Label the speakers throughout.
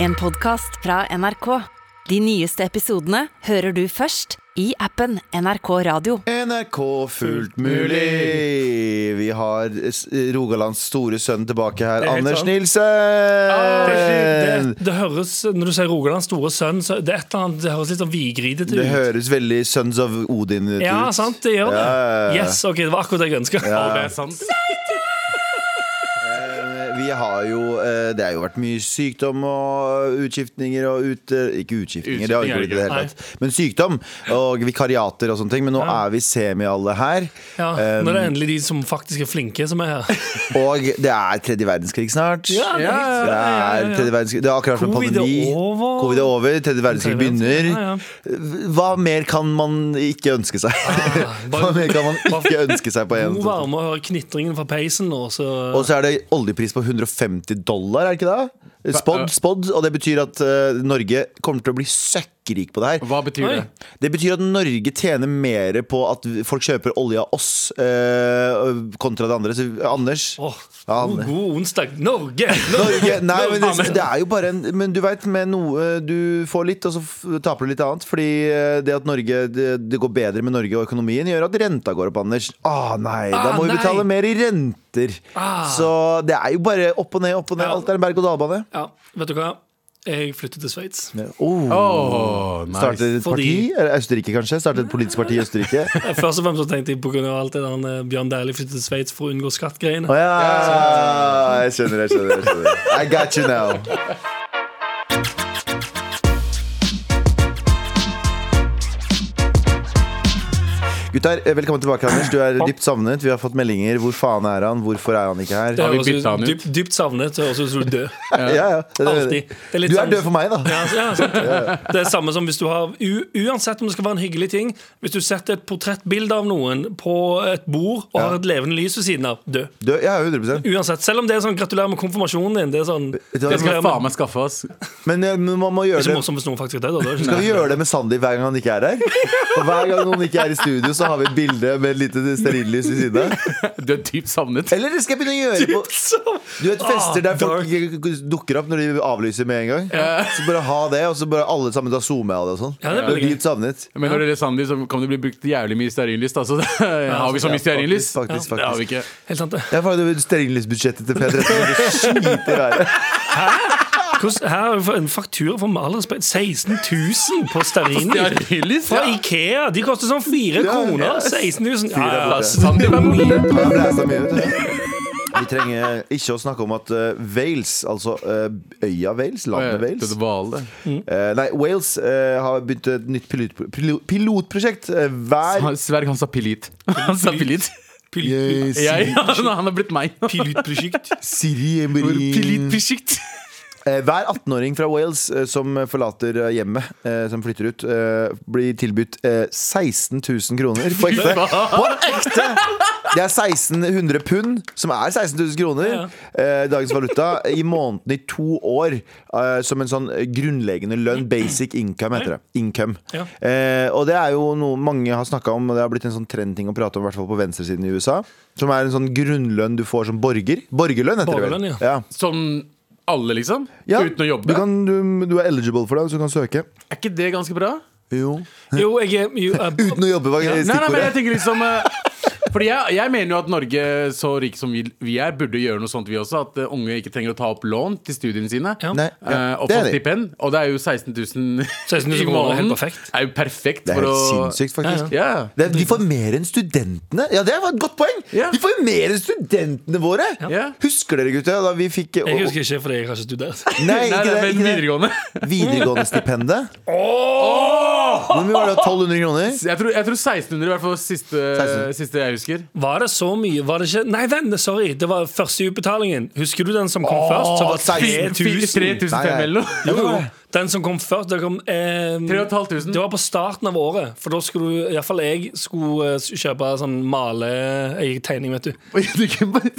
Speaker 1: En podcast fra NRK. De nyeste episodene hører du først i appen NRK Radio.
Speaker 2: NRK Fullt mulig! Vi har s- Rogalands store sønn tilbake her.
Speaker 3: Det er helt
Speaker 2: Anders
Speaker 3: sant.
Speaker 2: Nilsen!
Speaker 3: Det, det høres, Når du sier Rogalands store sønn, så det, er et eller annet, det høres litt sånn vigridete
Speaker 2: Det
Speaker 3: ut.
Speaker 2: høres veldig Sons of Odin ut.
Speaker 3: Ja, sant, det gjør det.
Speaker 2: Ja, ja, ja.
Speaker 3: Yes, ok, Det var akkurat det jeg ønska.
Speaker 4: Ja, det er sant.
Speaker 2: Eh, Vi har jo eh, Det har jo vært mye sykdom og utskiftninger og ut... eh, Ikke utskiftninger, det har jo ikke blitt i det hele tatt. Men sykdom og vikariater og sånne ting. Men nå er vi semi alle her. Eh,
Speaker 3: Ja, når det er endelig de som faktisk er flinke, som er her.
Speaker 2: Og det er tredje verdenskrig snart.
Speaker 3: Ja, det er helt-
Speaker 2: Det
Speaker 3: ja, ja,
Speaker 2: er,
Speaker 3: ja.
Speaker 2: tredje verdenskrig, det er akkurat som en
Speaker 3: Covid er
Speaker 2: pandemi.
Speaker 3: over.
Speaker 2: Covid er over. Tredje verdenskrig
Speaker 3: Tredje
Speaker 2: begynner.
Speaker 3: verdenskrig, ja, Ah,
Speaker 2: Hva mer kan man ikke ønske seg? Hva
Speaker 3: bare-
Speaker 2: mer kan man ikke ønske seg på en sånn-
Speaker 3: God varme å høre knitringen fra peisen nå, så
Speaker 2: Og så er det oljepris på 150 dollar, er det ikke det? Spådd, spådd. Og det betyr at eh, Norge kommer til å bli søkkrik på det her.
Speaker 4: Hva betyr
Speaker 3: Oi.
Speaker 4: det?
Speaker 2: Det betyr at Norge tjener mer på at folk kjøper olje av oss eh, kontra det andre. Så, Anders.
Speaker 3: Åh,
Speaker 2: Ja,
Speaker 3: god,
Speaker 2: Anders.
Speaker 3: god onsdag. Norge!
Speaker 2: Norge, nei, men det,
Speaker 3: Amen.
Speaker 2: det er jo bare en Men du veit, med noe eh, du får litt, og så f- taper du litt annet. Fordi eh, det at Norge det, det går bedre med Norge og økonomien, gjør at renta går opp, Anders. Ah, nei, da
Speaker 3: Ah,
Speaker 2: må vi
Speaker 3: nei.
Speaker 2: betale mer i renter.
Speaker 3: Ah.
Speaker 2: Så det er jo bare opp og ned, opp og ned.
Speaker 3: Ja.
Speaker 2: Alt er en berg-og-dal-bane.
Speaker 3: Ja, vet du hva? Jeg flytter til Sveits.
Speaker 2: Oh.
Speaker 4: Åh, nice.
Speaker 2: Startet et parti?
Speaker 3: Fordi-
Speaker 2: Eller Østerrike, kanskje? Startet et politisk parti i Østerrike?
Speaker 3: Først og fremst så tenkte jeg på grunn av alt det der eh, Bjørn Dæhlie flyttet til Sveits for å unngå skattgreiene.
Speaker 2: Å ja! Jeg skjønner, jeg skjønner. jeg skjønner I got you now. Gutter, eh, velkommen tilbake, Anders. Du er dypt savnet. Vi har fått meldinger. Hvor faen er han? Hvorfor er han ikke her?
Speaker 3: Det
Speaker 4: Har vi
Speaker 3: høres ut-
Speaker 4: byttet han ut?
Speaker 3: Dypt, dypt savnet. Det høres ut som du er død.
Speaker 2: Ja, ja. Det-
Speaker 3: Alltid. Det er litt
Speaker 2: Du er
Speaker 3: sånn-
Speaker 2: død for meg, da.
Speaker 3: Ja, ja, sant. Det er samme som hvis du har u Uansett om det skal være en hyggelig ting Hvis du setter et portrettbilde av noen på et bord og har et levende lys ved siden av, død.
Speaker 2: Død, ja, 100
Speaker 3: Uansett, Selv om det er sånn 'gratulerer med konfirmasjonen din'. Det er sånn
Speaker 2: Vet du hva,
Speaker 4: Det skal
Speaker 3: jeg-
Speaker 4: jeg faen meg skaffe oss.
Speaker 2: Men eh, men man må
Speaker 3: det
Speaker 2: gjøre
Speaker 3: er så
Speaker 2: det
Speaker 3: morsomt hvis noen faktisk er død.
Speaker 2: Skal
Speaker 3: Da. Det er
Speaker 2: vi gjøre det med Sandy hver gang han ikke er her? Og hver gang noen ikke er i studio, så har vi et bilde med et lite stearinlys i siden av.
Speaker 4: Du er dypt savnet.
Speaker 2: Eller det skal jeg begynne å gjøre på
Speaker 3: så-
Speaker 2: Du vet fester der
Speaker 3: Ah,
Speaker 2: folk dukker opp når de avlyser med en gang. Så bare ha det, og så bare alle sammen ta zoome av det og sånn.
Speaker 3: Ja, det er
Speaker 2: det
Speaker 3: veldig
Speaker 2: er dypt savnet.
Speaker 4: Men når det er Sandy, så kan det bli brukt jævlig mye stearinlys. da, så- Har vi så mye stearinlys?
Speaker 2: Ja, faktisk, faktisk,
Speaker 4: Det har vi
Speaker 2: faktisk.
Speaker 4: ikke.
Speaker 3: Helt sant det
Speaker 2: Ja, for det er Stearinlysbudsjettet til P13 det skiter i været.
Speaker 3: Hvordan, her er en faktura for med all respekt 16 000 på stearinlys.
Speaker 4: Stearinlys?
Speaker 3: Fra
Speaker 4: Ja.
Speaker 3: Ikea! De koster sånn fire
Speaker 2: Ja,
Speaker 3: kroner.
Speaker 2: ja.
Speaker 3: 16 000. Ja, ja,
Speaker 2: Fire
Speaker 3: så det var mye.
Speaker 2: Det har blæst mye, vet du. Vi trenger ikke å snakke om at eh, Wales, altså eh, øya Wales, landet Wales
Speaker 4: Det er Hvale.
Speaker 2: eh, Nei, Wales eh, har begynt et nytt pilot, pilo- pilotprosjekt. eh, hver
Speaker 4: Han- Sverg, han sa pilit. Han sa pilit.
Speaker 3: Pil-
Speaker 4: Jeg, han han har blitt meg.
Speaker 3: Pilotprosjekt.
Speaker 2: Siri
Speaker 4: Pilitprosjekt.
Speaker 2: Eh, Hver 18-åring fra Wales eh, som forlater eh, hjemmet, eh, som flytter ut, eh, blir tilbudt eh, 16 000 kroner på ekte. På ekte! Det er 1600 pund, som er 16 000 kroner, eh, dagens valuta, i måneden i to år. eh, Som en sånn grunnleggende lønn. Basic income, heter det. Income.
Speaker 3: Ja.
Speaker 2: Eh, Og det er jo noe mange har snakka om, og det har blitt en sånn trendting å prate om, i hvert fall på venstresiden i USA. Som er en sånn grunnlønn du får som borger. Borgerlønn, heter det
Speaker 3: Borgerlønn,
Speaker 2: vel. Ja.
Speaker 4: Sånn alle, liksom?
Speaker 2: Ja,
Speaker 4: Uten å
Speaker 2: Du,
Speaker 4: jobbe?
Speaker 2: kan, du, du er eligible for det, så du kan søke.
Speaker 4: Er ikke det ganske bra?
Speaker 2: Jo.
Speaker 3: Jo, jeg er jo, eh,
Speaker 2: Uten å jobbe, var
Speaker 4: Nei, nei, men jeg
Speaker 2: stikkordet.
Speaker 4: tenker liksom eh, Fordi jeg, jeg mener jo at Norge, så rik som vi, vi er, burde gjøre noe sånt vi også. At eh, unge ikke trenger å ta opp lån til studiene sine.
Speaker 3: Ja.
Speaker 2: Nei,
Speaker 4: eh,
Speaker 2: ja,
Speaker 4: og
Speaker 2: det
Speaker 4: få
Speaker 2: er det.
Speaker 4: stipend. Og det er jo 16 000
Speaker 3: 16 000 kroner er
Speaker 4: i
Speaker 3: helt
Speaker 4: måneden.
Speaker 3: perfekt.
Speaker 4: Er jo perfekt
Speaker 2: Det er
Speaker 4: for
Speaker 2: helt
Speaker 4: å
Speaker 2: sinnssykt, faktisk.
Speaker 4: Ja.
Speaker 2: Det er, de får mer enn studentene. Ja, det var et godt poeng!
Speaker 4: Ja.
Speaker 2: De får mer enn studentene våre!
Speaker 4: Ja.
Speaker 2: Husker dere, gutta, da vi fikk
Speaker 3: jeg husker ikke fordi jeg har ikke studert.
Speaker 2: Nei,
Speaker 4: Nei,
Speaker 2: ikke
Speaker 4: nei,
Speaker 2: det.
Speaker 4: men
Speaker 2: Ikke det.
Speaker 4: videregående.
Speaker 2: Videregående-stipendet. Hvor mye var det? 1200 kroner?
Speaker 4: Jeg tror, jeg tror 1600 i hvert fall siste,
Speaker 2: 1600.
Speaker 4: siste jeg husker.
Speaker 3: Var det så mye? Var det ikke Nei, den, sorry! Det var første utbetalingen. Husker du den som kom først? Som var
Speaker 2: 16
Speaker 3: 3000.
Speaker 4: 3500
Speaker 2: Nei, nei.
Speaker 4: eller noe.
Speaker 3: Jo, jo. Den som kom først det, kom, eh,
Speaker 4: 3500.
Speaker 3: det var på starten av året. For da skulle du, iallfall jeg, skulle eh, kjøpe sånn male... eh, Jeg tegning, vet du.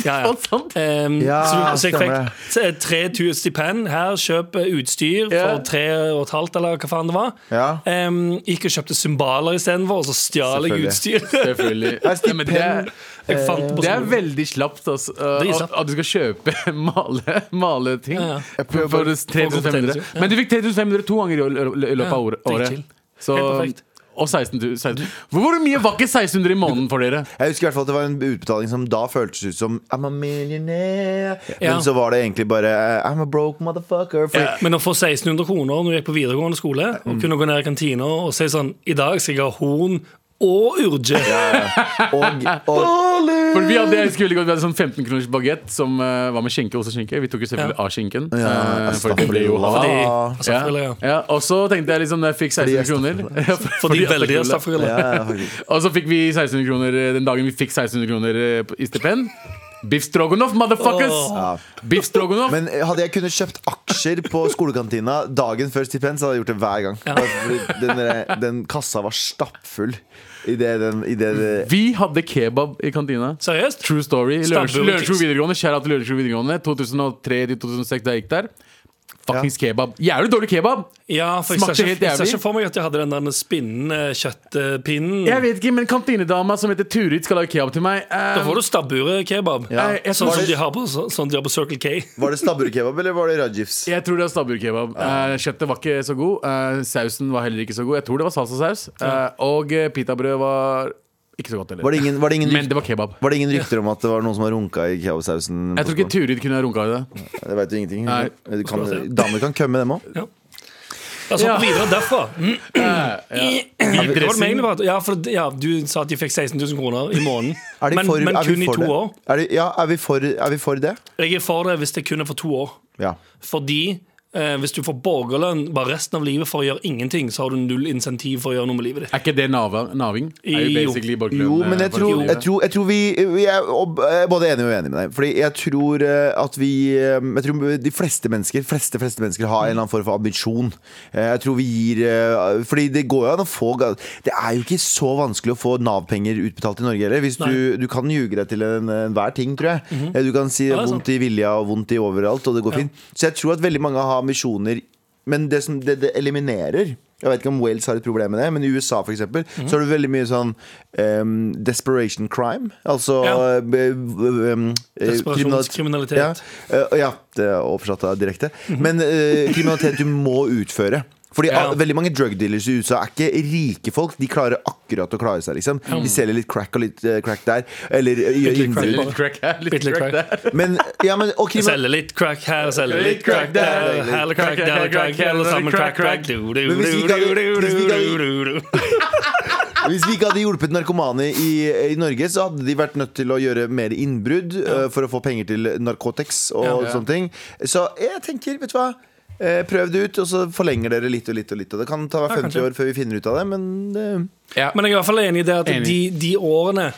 Speaker 3: Ja, ja. Ehm,
Speaker 2: Ja,
Speaker 3: så, så jeg
Speaker 2: stemmer
Speaker 3: fikk 3000 stipend. Her, kjøp eh, utstyr
Speaker 4: Ja.
Speaker 3: for tre og et halvt, eller hva faen det var.
Speaker 2: Ja.
Speaker 3: Ehm, gikk og kjøpte cymbaler istedenfor, og så stjal jeg
Speaker 2: Selvfølgelig.
Speaker 3: utstyret.
Speaker 4: Selvfølgelig.
Speaker 2: stipend.
Speaker 4: Ja, men det, er-
Speaker 3: Jeg fant på
Speaker 4: det er
Speaker 3: skolen.
Speaker 4: veldig slapt, altså.
Speaker 3: Det er
Speaker 4: At,
Speaker 3: slapt.
Speaker 4: at du skal kjøpe male, male ting
Speaker 3: Ja, ja.
Speaker 4: for for 3500. Men du fikk 3500 to ganger i å- i løpet av året-
Speaker 3: Ja,
Speaker 4: året.
Speaker 3: dritchill.
Speaker 4: Så,
Speaker 3: Helt perfekt.
Speaker 4: og 16 000. 16 000. Hvor hvor mye var ikke 1600 i måneden for dere?
Speaker 2: Jeg husker i hvert fall at det var en utbetaling som da føltes ut som I'm a millionaire.
Speaker 3: Ja.
Speaker 2: Men så var det egentlig bare eh, I'm a broke motherfucker. Fordi,
Speaker 3: Men å få 1600 kroner når du gikk på videregående skole, og kunne gå ned i kantina og si sånn I dag skal jeg ha horn og urge.
Speaker 2: og, og,
Speaker 4: For vi hadde, jeg husker veldig godt, vi hadde sånn 15 kroners bagett som eh, var med skinke, også skinke. Vi tok jo selvfølgelig av skinken. eh, for det ble jo
Speaker 2: astafrullah.
Speaker 4: halal.
Speaker 3: Fordi,
Speaker 2: Ah.
Speaker 3: altså,
Speaker 4: Ja.
Speaker 3: eller, ja.
Speaker 4: Ja, og så tenkte jeg liksom, når jeg fikk 1600 kroner Ja, for-
Speaker 3: Fordi
Speaker 4: fordi
Speaker 3: veldig astafrullah.
Speaker 4: astafrullah.
Speaker 2: ja, ja, faktisk.
Speaker 4: Og så fikk vi 1600 kroner eh, den dagen vi fikk 1600 kroner eh, på- i stipend. Biff stroganoff, motherfuckers!
Speaker 2: Ja.
Speaker 4: Biff stroganoff.
Speaker 2: Men eh, hadde jeg kunnet kjøpt aksjer på skolekantina dagen før stipend, så hadde jeg gjort det hver gang. Bare fordi Den, der- den kassa var stappfull i det den i det, det
Speaker 4: Vi hadde kebab i kantina.
Speaker 3: Seriøst?
Speaker 4: True story. i Lørenskog
Speaker 3: Stambull
Speaker 4: Lørenskog
Speaker 3: Kids.
Speaker 4: videregående. Kjære til Lørenskog videregående. 2003-2006, da jeg gikk der. Fuckings kebab. Jævlig dårlig kebab!
Speaker 3: Ja, for jeg
Speaker 4: Smakte
Speaker 3: ser
Speaker 4: helt
Speaker 3: ikke, jeg ser
Speaker 4: jævlig.
Speaker 3: ikke for meg at jeg hadde den der spinnende kjøttpinnen.
Speaker 4: Jeg vet ikke, men kantinedama som heter Turid, skal lage kebab til meg. Eh,
Speaker 3: Da får du stabburet-kebab.
Speaker 2: Ja.
Speaker 4: jeg, jeg,
Speaker 3: Sånn
Speaker 4: tror,
Speaker 3: som
Speaker 2: det-
Speaker 3: de har på, så- sånn de har på Circle K.
Speaker 2: Var det stabburkebab eller var det rajifs?
Speaker 4: jeg tror det er stabburkebab. Eh, kjøttet var ikke så god. eh, sausen var heller ikke så god. Jeg tror det var salsasaus. eh, og eh, pitabrød var ikke så godt heller.
Speaker 2: Var det ingen, var det ingen,
Speaker 4: Men
Speaker 2: rykt-
Speaker 4: det var kebab.
Speaker 2: var det ingen rykter om at det var noen som har runka i kebabsausen?
Speaker 4: Jeg tror ikke Turid kunne ha runka i det.
Speaker 2: Jeg vet jo ingenting.
Speaker 4: Nei.
Speaker 2: Du Kan, damer kan kømme dem òg.
Speaker 3: La oss
Speaker 4: Ja.
Speaker 3: hoppe videre derfra. Mm.
Speaker 4: Eh,
Speaker 3: Hva var det
Speaker 4: dressing.
Speaker 3: vi egentlig var- Ja, for, ja, du sa at de fikk 16 000 kroner i måneden.
Speaker 2: Er, de
Speaker 3: men
Speaker 2: for,
Speaker 3: men
Speaker 2: er vi
Speaker 3: kun i
Speaker 2: for
Speaker 3: to
Speaker 2: det?
Speaker 3: år.
Speaker 2: Er de, ja, er vi, for, er vi for det?
Speaker 3: Jeg er for det hvis det kun er for to år.
Speaker 2: Ja.
Speaker 3: Fordi eh, hvis du får borgerlønn bare resten av livet for å gjøre ingenting, så har du null insentiv for å gjøre noe med livet ditt.
Speaker 4: Er ikke det nava- naving? Er jo
Speaker 3: Jo.
Speaker 4: basically borgerlønn,
Speaker 2: Jo, men jeg
Speaker 4: eh,
Speaker 2: tror,
Speaker 4: borgerlønn.
Speaker 2: jeg tror, jeg tror vi, vi er ob- eh, både enige og uenige med deg. Fordi jeg tror eh, at vi eh, Jeg tror de fleste mennesker Fleste, fleste mennesker har en eller annen form for ambisjon. Eh, Jeg tror vi gir eh, Fordi det går jo an å få ga- Det er jo ikke så vanskelig å få Nav-penger utbetalt i Norge heller. Hvis du, du kan ljuge deg til en- enhver ting, tror jeg. Eh, Du kan si
Speaker 3: Mhm. det er sant.
Speaker 2: vondt i vilja og vondt i overalt, og det går fint. Så jeg tror at veldig mange har ambisjoner, men det som det, det eliminerer jeg vet ikke om Wales har et problem med det, men i USA for eksempel,
Speaker 3: Mhm.
Speaker 2: så er det veldig mye sånn em, desperation crime. Altså
Speaker 3: Ja.
Speaker 2: eh, be- v- em, eh,
Speaker 3: Desperasjonskriminalitet. Mhm.
Speaker 2: Ja, eh, ja, det er oversatt av direkte. Men eh, kriminalitet du må utføre. Fordi
Speaker 3: Ja.
Speaker 2: ah, Veldig mange drug dealers i USA er ikke rike folk. De klarer akkurat å klare seg. liksom De selger litt crack og litt eh, crack der. Eller eh, gjør
Speaker 3: litt crack
Speaker 2: innbrudd.
Speaker 4: Litt crack her, litt
Speaker 3: Bitte litt
Speaker 4: crack
Speaker 3: crack.
Speaker 4: der.
Speaker 2: Men, ja, men, og kriminal-
Speaker 3: Selge litt crack her, selge litt crack der. Hele crack, der, crack, hele sammen crack, crack. Du, du,
Speaker 2: Men hvis vi ikke hadde-
Speaker 3: du,
Speaker 2: hvis vi ikke hadde-
Speaker 3: du, du, du, du.
Speaker 2: Hvis vi ikke hadde hjulpet narkomane i, i Norge, så hadde de vært nødt til å gjøre mer innbrudd eh, for å få penger til narkotex og
Speaker 3: Ja.
Speaker 2: sånne ting. Så jeg tenker, vet du hva. eh, Prøv det ut, og så forlenger dere litt og litt. og litt Og Det kan ta hver 50 år før vi finner ut av det, men eh,
Speaker 4: Ja.
Speaker 3: Men jeg er i hvert fall enig i det at
Speaker 4: Enig.
Speaker 3: de, de årene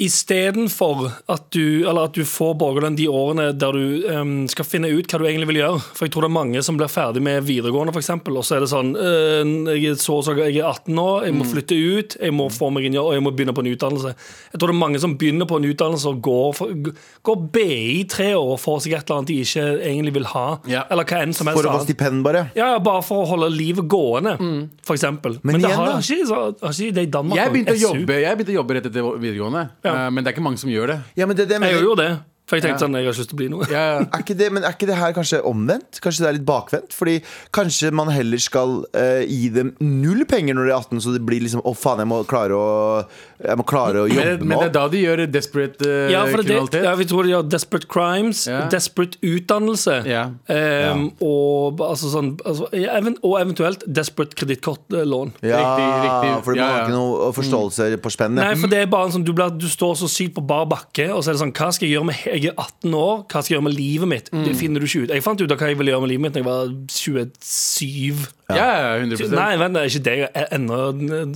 Speaker 3: Istedenfor at du Eller at du får borgerlønn de årene der du em, skal finne ut hva du egentlig vil gjøre. For jeg tror det er mange som blir ferdig med videregående, f.eks. Og så er det sånn øh, Jeg er så og så jeg er 18 nå, jeg
Speaker 4: Mm.
Speaker 3: må flytte ut, jeg må få meg en jobb, og jeg må begynne på en utdannelse. Jeg tror det er mange som begynner på en utdannelse og går, for, går BI i tre år og får seg et eller annet de ikke egentlig vil ha.
Speaker 4: Ja.
Speaker 3: Eller hva enn som helst.
Speaker 2: for å få
Speaker 3: annet.
Speaker 2: stipend, bare.
Speaker 3: Ja, ja, bare for å holde livet gående, for eksempel. Men, det
Speaker 2: igjen
Speaker 3: har,
Speaker 2: da.
Speaker 3: har, ikke, så- har ikke det i Danmark.
Speaker 4: Jeg
Speaker 3: da.
Speaker 4: begynte, å
Speaker 3: sånn SU.
Speaker 4: jobbe, jeg begynte å jobbe rett etter videregående,
Speaker 3: Ja.
Speaker 4: eh, men det er ikke mange som gjør det.
Speaker 2: Ja, men det, er det, jeg
Speaker 3: Jeg
Speaker 2: mener.
Speaker 3: gjorde jo det, for jeg tenkte
Speaker 4: Ja. Eh,
Speaker 3: sånn, jeg har ikke lyst til å bli noe.
Speaker 4: Ja, ja.
Speaker 2: er ikke det, men er ikke det her kanskje omvendt? Kanskje det er litt bakvendt? Fordi kanskje man heller skal eh, gi dem null penger når de er 18, så det blir liksom Å, faen, jeg må klare å, jeg må klare å jobbe
Speaker 4: Men, men det
Speaker 2: med
Speaker 4: er da de gjør desperate eh,
Speaker 3: Ja, for det,
Speaker 4: kriminalitet.
Speaker 3: ja, vi tror de har desperate crimes,
Speaker 4: Ja.
Speaker 3: desperate utdannelse,
Speaker 4: Ja.
Speaker 3: ehm, Og, altså, sånn, altså, ja, even- og eventuelt desperate kredittkortlån.
Speaker 2: Ja,
Speaker 4: Riktig, riktig.
Speaker 2: for man
Speaker 4: Ja,
Speaker 2: har
Speaker 4: ja. Mm.
Speaker 2: ikke noe forståelse på spennet.
Speaker 3: Nei, for det er bare en sånn, du, blir, du står så sykt på bar bakke, og så er det sånn Hva skal jeg gjøre med he- jeg er 18 år, hva skal jeg gjøre med livet mitt?
Speaker 4: Mm.
Speaker 3: Det finner du ikke ut. Jeg fant ut av hva jeg ville gjøre med livet mitt da jeg var 27.
Speaker 4: Ja, ja, 100
Speaker 3: Nei, vent, det er ikke det. Jeg er ennå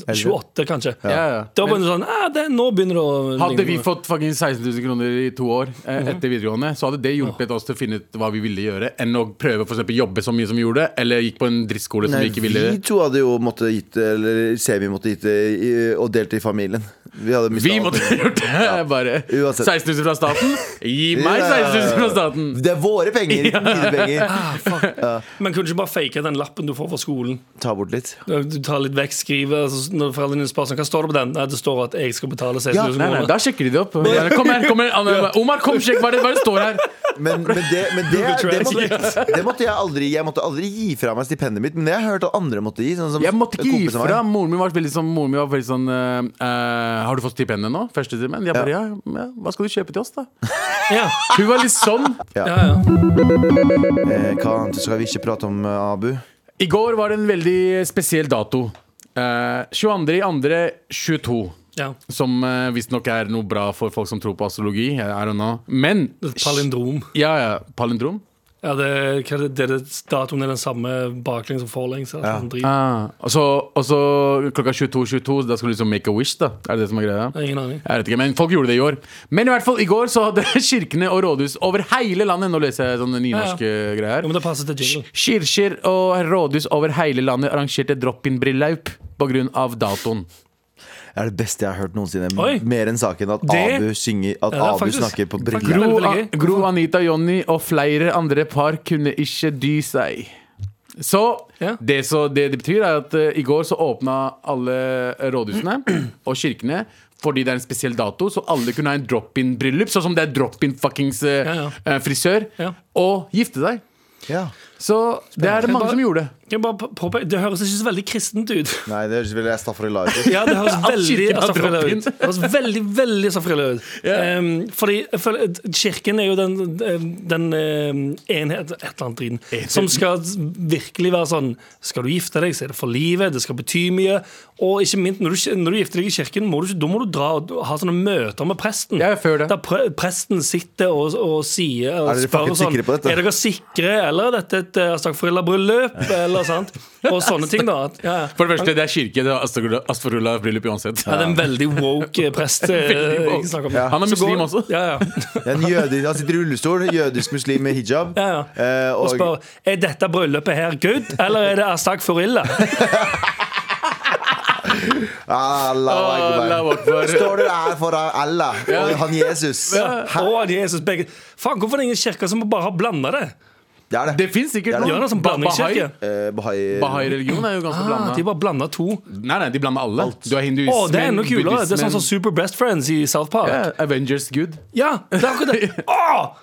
Speaker 3: 28, kanskje.
Speaker 4: Ja, ja.
Speaker 3: Da begynner det sånn «Ah, det, Nå begynner det å
Speaker 4: Hadde
Speaker 3: ligne på
Speaker 4: vi
Speaker 3: noe».
Speaker 4: fått fucking 16 000 kroner i to år eh,
Speaker 3: Mhm.
Speaker 4: etter videregående, så hadde det hjulpet oss til å finne ut hva vi ville gjøre, enn å prøve for eksempel, jobbe så mye som vi gjorde, eller gikk på en drittskole som
Speaker 2: Nei,
Speaker 4: vi ikke ville.
Speaker 2: Vi to hadde jo måttet gitt det, eller semi måtte gitt det, i- og delt det i familien. Vi hadde mistet
Speaker 4: Vi
Speaker 2: alt.
Speaker 4: måtte ha gjort det! Bare
Speaker 2: Uansett.
Speaker 4: 16 000 fra staten? Gi meg 16 000 fra staten!
Speaker 2: Det er våre penger, ikke dine penger.
Speaker 3: Men kunne du ikke bare fake den lappen du får fra skolen?
Speaker 2: Ta bort litt.
Speaker 3: Du tar litt vekk, skriver altså, Når foreldrene dine spør sånn, hva står det på den, Nei, det står at jeg skal betale 16
Speaker 2: Ja,
Speaker 3: 000
Speaker 4: Nei, nei,
Speaker 3: kroner.
Speaker 4: da sjekker de det opp. Ja, Kom her, kom her Anna, Omar, kom, sjekk hva det hva det står her!
Speaker 2: Men, men, det, men det,
Speaker 3: Google
Speaker 2: det,
Speaker 3: Translate.
Speaker 2: måtte, det måtte jeg aldri Jeg måtte aldri gi fra meg stipendet mitt, men det har jeg hørt at andre måtte gi. Sånn som
Speaker 4: Jeg måtte ikke gi
Speaker 2: kompiser av meg.
Speaker 4: fra. Moren min var veldig sånn, moren min var veldig sånn eh, eh, Har du fått stipendet nå? Første timen? Jeg bare ja. ja, hva skal du kjøpe til oss, da?
Speaker 3: Ja,
Speaker 4: Hun var litt sånn.
Speaker 3: ja, ja.
Speaker 2: Eh, hva annet skal vi ikke prate om, eh, Abu?
Speaker 4: I går var det en veldig spesiell dato. Eh, 22.2.22.
Speaker 3: ja.
Speaker 4: Som uh, visstnok er noe bra for folk som tror på astrologi. I don't know. Men
Speaker 3: Palindrom.
Speaker 4: Ja, ja. Palindrom?
Speaker 3: Ja, det, hva er det, det, er det, datoen er den samme baklengs som forlengs. eller sånn drit.
Speaker 4: Ah, og så- og så klokka 22.22, da skal du liksom make a wish, da? Er det det som er greia?
Speaker 3: Jeg har Ingen aning.
Speaker 4: Jeg vet ikke, men folk gjorde det i år. Men i hvert fall i går så hadde kirkene og rådhus over hele landet Nå leser jeg sånne nynorske
Speaker 3: Ja,
Speaker 4: greier.
Speaker 3: men det passer til jingle.
Speaker 4: Kirker og rådhus over hele landet arrangerte drop-in-bryllup pga. datoen.
Speaker 2: Det er det beste jeg har hørt noensinne.
Speaker 3: Oi.
Speaker 2: Mer enn saken at
Speaker 3: Det-
Speaker 2: Abu synger At
Speaker 3: Ja, det er
Speaker 2: Abu
Speaker 3: faktisk-
Speaker 2: snakker på
Speaker 3: faktisk-
Speaker 2: briller.
Speaker 4: Gro,
Speaker 3: veldig gøy.
Speaker 4: Gro Anita Jonny og flere andre par kunne ikke dy seg. Så
Speaker 3: Ja.
Speaker 4: det, så det det betyr, er at eh, i går så åpna alle rådhusene og kirkene. Fordi det er en spesiell dato, så alle kunne ha en drop-in-bryllup. Sånn som det er drop-in-fuckings eh,
Speaker 3: Ja, ja.
Speaker 4: eh, frisør.
Speaker 3: Ja.
Speaker 4: Og gifte seg.
Speaker 2: Ja.
Speaker 4: Så det er det mange som gjorde.
Speaker 3: Kan jeg bare på- påpeke, det høres ikke så veldig kristent ut.
Speaker 2: Nei, det høres veldig Stafford ut.
Speaker 3: Ja, det høres
Speaker 4: At
Speaker 3: veldig
Speaker 4: kirken har
Speaker 3: safrilla
Speaker 4: droppet inn.
Speaker 3: ut. Det høres veldig, veldig safrilla ut.
Speaker 4: Ja.
Speaker 3: Em, fordi jeg føler at kirken er jo den, ehm, den em, enhet Et eller annet driten. Som skal virkelig være sånn Skal du gifte deg, så er det for livet. Det skal bety mye. Og ikke minst, når du, når du gifter deg i kirken, må du, ikke- da må du dra og ha sånne møter med presten.
Speaker 4: Ja, jeg føler det.
Speaker 3: Der pre presten sitter og, og sier og
Speaker 2: Er dere
Speaker 3: spør
Speaker 2: fucking
Speaker 3: sånn
Speaker 2: sikre på dette?
Speaker 3: Er dere sikre, eller er dette et eh, stakfrilla-bryllup, eller sant? Og sånne ting, da. At- Ja. ja.
Speaker 4: For det første, det er kirke. Det er Astforullah-bryllup uansett.
Speaker 3: Ja, det er en veldig woke prest. eh,
Speaker 4: Veldig woke.
Speaker 3: jeg snakker om.
Speaker 2: Ja.
Speaker 4: Han er
Speaker 3: Så går-
Speaker 4: muslim også.
Speaker 3: Ja, ja.
Speaker 2: Det er En jøde, han sitter i rullestol, jødisk muslim med hijab.
Speaker 3: Ja, ja.
Speaker 2: Eh,
Speaker 3: Og spør er dette bryllupet her good, eller er det Astak Furilla?
Speaker 2: Allahu
Speaker 3: Ah,
Speaker 4: Allahu
Speaker 2: akbar.
Speaker 4: akbar.
Speaker 2: Står du der foran Allah og han Jesus?
Speaker 3: Og Jesus begge Faen, hvorfor er det ingen kirker som bare har blanda det?
Speaker 2: Det er
Speaker 4: Det
Speaker 2: det.
Speaker 4: fins sikkert
Speaker 3: Gjør det som
Speaker 4: Ba-
Speaker 3: sånn blandingskirke.
Speaker 2: Eh, Bahai-
Speaker 4: Bahai-religion er jo ganske
Speaker 3: Ah, de
Speaker 4: blanda.
Speaker 3: bare blanda to.
Speaker 4: Nei, nei, de blander alle. Du er hinduismen,
Speaker 3: Å, det er enda kulere! Det er sånn som
Speaker 4: buddhismen.
Speaker 3: Super Best Friends i South Park.
Speaker 4: Ja, Avengers Gud.
Speaker 3: Ja, det er akkurat det! Å,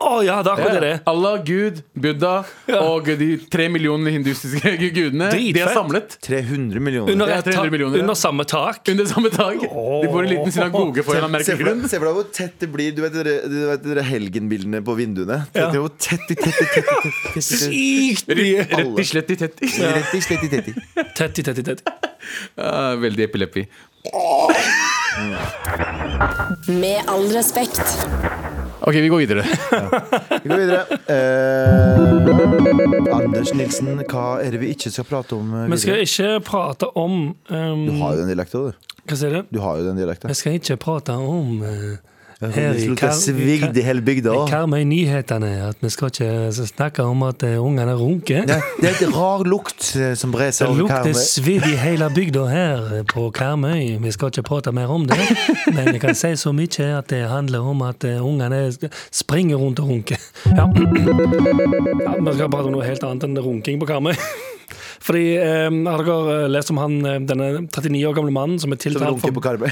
Speaker 3: Å, ja, det er akkurat det det er.
Speaker 4: Allah, Gud, Buddha
Speaker 3: Ja.
Speaker 4: og de tre millionene hinduistiske gudene. De er
Speaker 3: Dritfett.
Speaker 4: samlet
Speaker 2: 300 millioner.
Speaker 3: Under,
Speaker 4: Det er
Speaker 3: ett
Speaker 4: 300
Speaker 3: tak-
Speaker 4: millioner, ja.
Speaker 3: under samme tak.
Speaker 4: under samme dag. De bor i en liten synagoge for en eller annen
Speaker 2: Se
Speaker 4: merkelig
Speaker 2: for,
Speaker 4: grunn.
Speaker 2: deg, se for deg hvor tett det blir. Du vet, dere- du vet dere helgenbildene på vinduene?
Speaker 3: Ja.
Speaker 2: Tenk deg Hvor tett, tett, tett, tett, tett, tett, tett, tett.
Speaker 3: Sykt mye!
Speaker 4: Rett i slett i tett.
Speaker 2: Rett i slett i tett i.
Speaker 3: Tetti, tetti, tetti.
Speaker 4: Ja, Veldig epileppi.
Speaker 5: Med all respekt.
Speaker 4: OK, vi går videre.
Speaker 2: Vi går videre. Eh, Anders Nilsen, hva er det vi ikke skal prate om eh,
Speaker 3: Vi skal
Speaker 2: videre?
Speaker 3: ikke prate om um,
Speaker 2: Du har jo den dialekta, du.
Speaker 3: Hva sier du?
Speaker 2: Du har jo den dialekta.
Speaker 3: Jeg skal ikke prate om eh, her i
Speaker 2: Slutta
Speaker 3: Kar-
Speaker 2: svigd i hele bygda.
Speaker 3: i Karmøy-nyhetene. At vi skal ikke altså, snakke om at eh, ungene runker.
Speaker 2: Ja, Det er et rar lukt eh, som brer
Speaker 3: Det
Speaker 2: seg over
Speaker 3: lukter
Speaker 2: Karmøy.
Speaker 3: svidd i hele bygda her eh, på Karmøy. Vi skal ikke prate mer om det. Men jeg kan si så mye at det handler om at eh, ungene sk- springer rundt og runker. Ja. ja, Vi skal prate om noe helt annet enn runking på Karmøy. Fordi eh, Har dere eh, lest om han, eh, denne 39 år gamle mannen som er
Speaker 2: Som
Speaker 3: tiltalt
Speaker 2: runker
Speaker 3: for
Speaker 2: på Karmøy.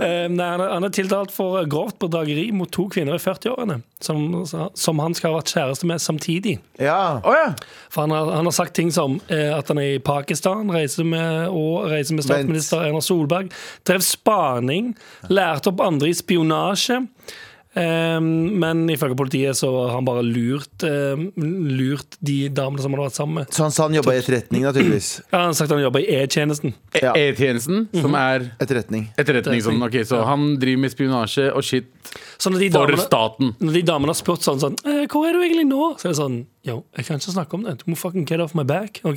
Speaker 3: Eh, Nei, han er- han er tiltalt for eh, grovt bedrageri mot to kvinner i 40-årene, som, som han skal ha vært kjæreste med samtidig.
Speaker 2: Ja.
Speaker 4: Å ja.
Speaker 3: For han har, han har sagt ting som eh, at han er i Pakistan reiser med, og reiser med statsminister Erna Solberg. Drev spaning, lærte opp andre i spionasje. Ehm, men ifølge politiet så har han bare lurt, ehm, lurt de damene som han har vært sammen med.
Speaker 2: Så han sa han jobba i etterretning, naturligvis.
Speaker 3: Ja, han har sagt han jobber i E-tjenesten.
Speaker 2: Ja.
Speaker 4: E-
Speaker 2: Mhm.
Speaker 4: E-tjenesten, som er
Speaker 2: Etterretning.
Speaker 4: etterretning. Sånn. Ok, så han driver med spionasje og shit
Speaker 3: Så når Sånn de
Speaker 4: for
Speaker 3: damene,
Speaker 4: staten.
Speaker 3: når de damene har spurt sånn, sånn eh, 'Hvor er du egentlig nå?' Så er det sånn Yo, jeg kan ikke snakke om det. Du må fucking get off my back. ok?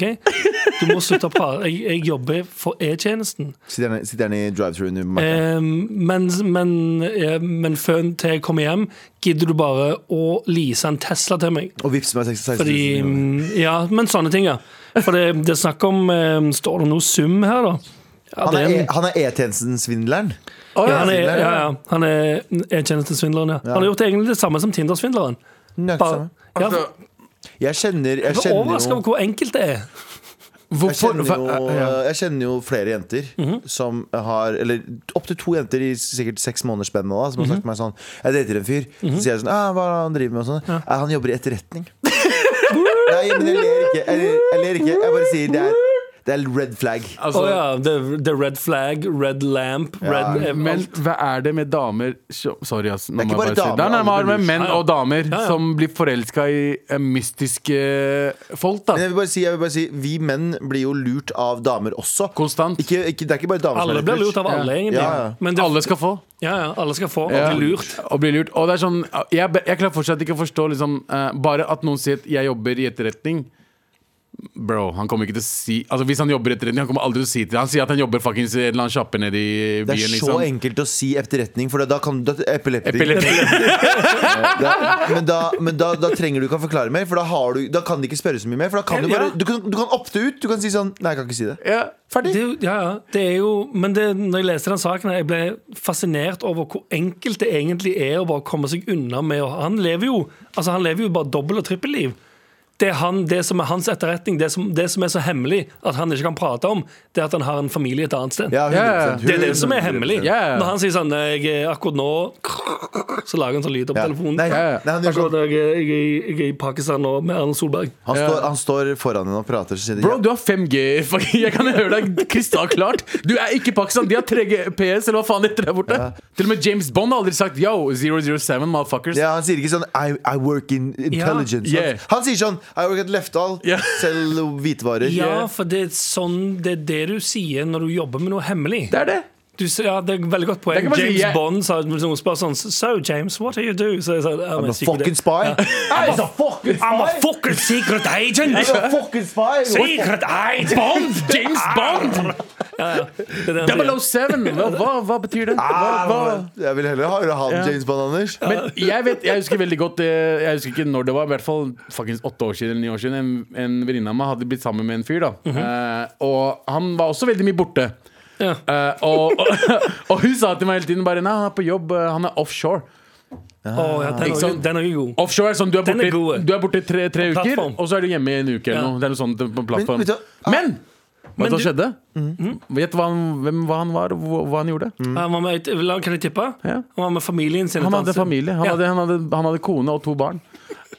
Speaker 3: Du må slutte å prate. Jeg, jeg jobber for E-tjenesten.
Speaker 2: Sitter han- sitter han i drive-throughen? i Marka?
Speaker 3: Eh, men, men, eh, men før til jeg kommer hjem, gidder du bare å lease en Tesla til meg?
Speaker 2: Og vippser meg 16 000
Speaker 3: Fordi,
Speaker 2: kroner.
Speaker 3: mm, ja, men sånne ting, ja. For det, det er snakk om eh, Står det noe sum her, da? Ja,
Speaker 2: Han
Speaker 3: det
Speaker 2: er
Speaker 3: en-
Speaker 2: E- han er E-tjenesten-svindleren.
Speaker 3: ja, han er, ja, ja. Han er E-tjenestesvindleren, ja. Han har gjort egentlig det samme som Tinder-svindleren.
Speaker 2: Nødt
Speaker 3: Bare-
Speaker 2: sammen.
Speaker 3: Ja, for-
Speaker 2: Jeg kjenner Jeg
Speaker 3: jeg er
Speaker 2: kjenner
Speaker 3: overrasket
Speaker 2: jo
Speaker 3: over hvor enkelt det er.
Speaker 2: jeg
Speaker 4: Hvorfor?
Speaker 2: kjenner, jo, jeg kjenner jo flere jenter
Speaker 3: Mhm.
Speaker 2: som har Eller opptil to jenter i sikkert seks måneders spenn nå, da, som har
Speaker 3: Mhm.
Speaker 2: sagt til meg sånn Jeg dater en fyr. Så sier jeg sånn «Ah, Hva er det han driver med? Og sånn. «Ah, Han jobber i etterretning. Nei, men jeg ler ikke. Jeg ler, jeg ler ikke. Jeg bare sier det er, det er red flag.
Speaker 3: Å
Speaker 4: Altså,
Speaker 3: ja, the, the red flag, red lamp, red eh,
Speaker 4: Men
Speaker 3: alt.
Speaker 4: hva er det med damer som- Sorry, ass. Nå
Speaker 2: Det er ikke
Speaker 4: må jeg
Speaker 2: bare
Speaker 4: si- Nei, nei,
Speaker 2: damer,
Speaker 4: men
Speaker 2: alle
Speaker 4: med menn
Speaker 3: Ja, ja.
Speaker 4: og damer
Speaker 3: Ja, ja.
Speaker 4: som blir forelska i eh, mystiske folk, da.
Speaker 2: Men jeg vil bare si, jeg vil bare si vi menn blir jo lurt av damer også.
Speaker 4: Konstant.
Speaker 2: Ikke, ikke, det er ikke bare damer
Speaker 3: Alle
Speaker 2: som er
Speaker 3: blir lurt av alle, egentlig.
Speaker 2: Ja, ja.
Speaker 3: Men det,
Speaker 4: Alle skal få.
Speaker 3: ja, ja, alle skal få.
Speaker 4: Ja.
Speaker 3: Og bli lurt.
Speaker 4: Og bli lurt. Og det er sånn, jeg, be- jeg klarer fortsatt ikke å forstå liksom, eh, Bare at noen sier at 'jeg jobber i etterretning'. Bro, han kommer ikke til å si Altså Hvis han jobber i etterretning, han kommer aldri til å si til Han sier at han jobber fuckings i en eller annen sjappe nede i
Speaker 2: Det
Speaker 4: byen.
Speaker 2: er så
Speaker 4: Liksom.
Speaker 2: enkelt å si etterretning, for da kan du epileptisk.
Speaker 4: Epilepsi.
Speaker 2: Da- Men, da, men da, da trenger du ikke å forklare mer, for da, har du, da kan de ikke spørre så mye mer. For da kan Du bare,
Speaker 4: Ja.
Speaker 2: du kan, du kan opte ut. Du kan si sånn Nei, jeg kan ikke si det.
Speaker 4: Ja.
Speaker 3: Det, er jo- ja, ja, det er jo, men det, når jeg leste den saken, her, jeg ble fascinert over hvor enkelt det egentlig er å bare komme seg unna med å Han lever jo altså han lever jo bare dobbel- og trippelliv. Det, er han, det som er hans etterretning, det som, det som er så hemmelig at han ikke kan prate om, det er at han har en familie et annet sted.
Speaker 2: Ja, 100%,
Speaker 4: Ja,
Speaker 3: Det er det som er
Speaker 2: 100%.
Speaker 3: hemmelig.
Speaker 4: Ja.
Speaker 3: Når han sier sånn jeg, er akkurat nå Så lager han sånn lyd opp
Speaker 2: Ja.
Speaker 3: telefonen.
Speaker 2: Nei,
Speaker 4: ja.
Speaker 2: nei, han, gjør
Speaker 3: Akkurat
Speaker 2: sånn.
Speaker 3: jeg, er- jeg, er- jeg er i Pakistan nå med Erna Solberg.
Speaker 2: han,
Speaker 4: Ja.
Speaker 2: står, han står foran henne og prater. Så sier de,
Speaker 4: Bro, du har 5G. fuck, Jeg kan høre deg krystallklart. Du er ikke Pakistan. De har 3G PS, eller hva faen heter det der borte. Til og med James Bond har aldri sagt yo, 007, motherfuckers.
Speaker 2: ja, Han sier ikke sånn I, I work in intelligence.
Speaker 4: Ja. Yeah.
Speaker 2: Han, han sier sånn I work at Leftdal.
Speaker 4: Ja.
Speaker 2: Selger hvitvarer.
Speaker 3: Ja, for det er sånn Det er det du sier når du jobber med noe hemmelig.
Speaker 4: Det er det.
Speaker 3: Du, s- ja, det er et veldig godt poeng.
Speaker 4: Det kan man si,
Speaker 3: James
Speaker 4: jeg-
Speaker 3: Bond sa hvis noen spør sånn So, James, what do you do? Så jeg sa, I'm,
Speaker 2: I'm a fucking spy. I'm a fucking
Speaker 3: I'm a
Speaker 2: spy.
Speaker 3: fucking secret agent!
Speaker 2: I'm a fucking spy.
Speaker 3: Secret agent!
Speaker 4: Bond! James Bond!
Speaker 2: Ah.
Speaker 3: Det er det han sier.
Speaker 4: 007! Hva, hva, hva betyr det? Hva, hva?
Speaker 2: Ah, Jeg vil heller ha han James Bond, Anders.
Speaker 4: Men jeg vet, jeg husker veldig godt eh, Jeg husker ikke når det var, i hvert fall fuckings åtte år siden eller ni år siden. En, en venninne av meg hadde blitt sammen med en fyr, da.
Speaker 3: Mhm.
Speaker 4: eh, og han var også veldig mye borte.
Speaker 3: Ja.
Speaker 4: Eh, og, og, og hun sa til meg hele tiden bare Nei, han er på jobb, eh, han er offshore.
Speaker 3: Å, ja, den,
Speaker 4: Ikke
Speaker 3: er jo-
Speaker 4: sant?
Speaker 3: den er jo god.
Speaker 4: Offshore er sånn du er
Speaker 3: Den er
Speaker 4: borte,
Speaker 3: god.
Speaker 4: du er borte i tre, tre uker,
Speaker 3: plattform.
Speaker 4: og så er du hjemme i en uke eller
Speaker 3: Ja.
Speaker 4: noe. Det er noe sånt på
Speaker 2: Men,
Speaker 4: plattform.
Speaker 2: vet du
Speaker 4: Men,
Speaker 2: hva?
Speaker 4: vet du hva
Speaker 3: du- Mhm.
Speaker 4: skjedde? Gjett hva han- hvem hva han var, og hva, hva han gjorde?
Speaker 3: Han var med, la- kan jeg tippe?
Speaker 4: Mm. Ja.
Speaker 3: Han var med familien sin. et
Speaker 4: Han
Speaker 3: annet
Speaker 4: hadde
Speaker 3: sted.
Speaker 4: familie. Han,
Speaker 3: Ja.
Speaker 4: hadde, han, hadde, han hadde kone og to barn.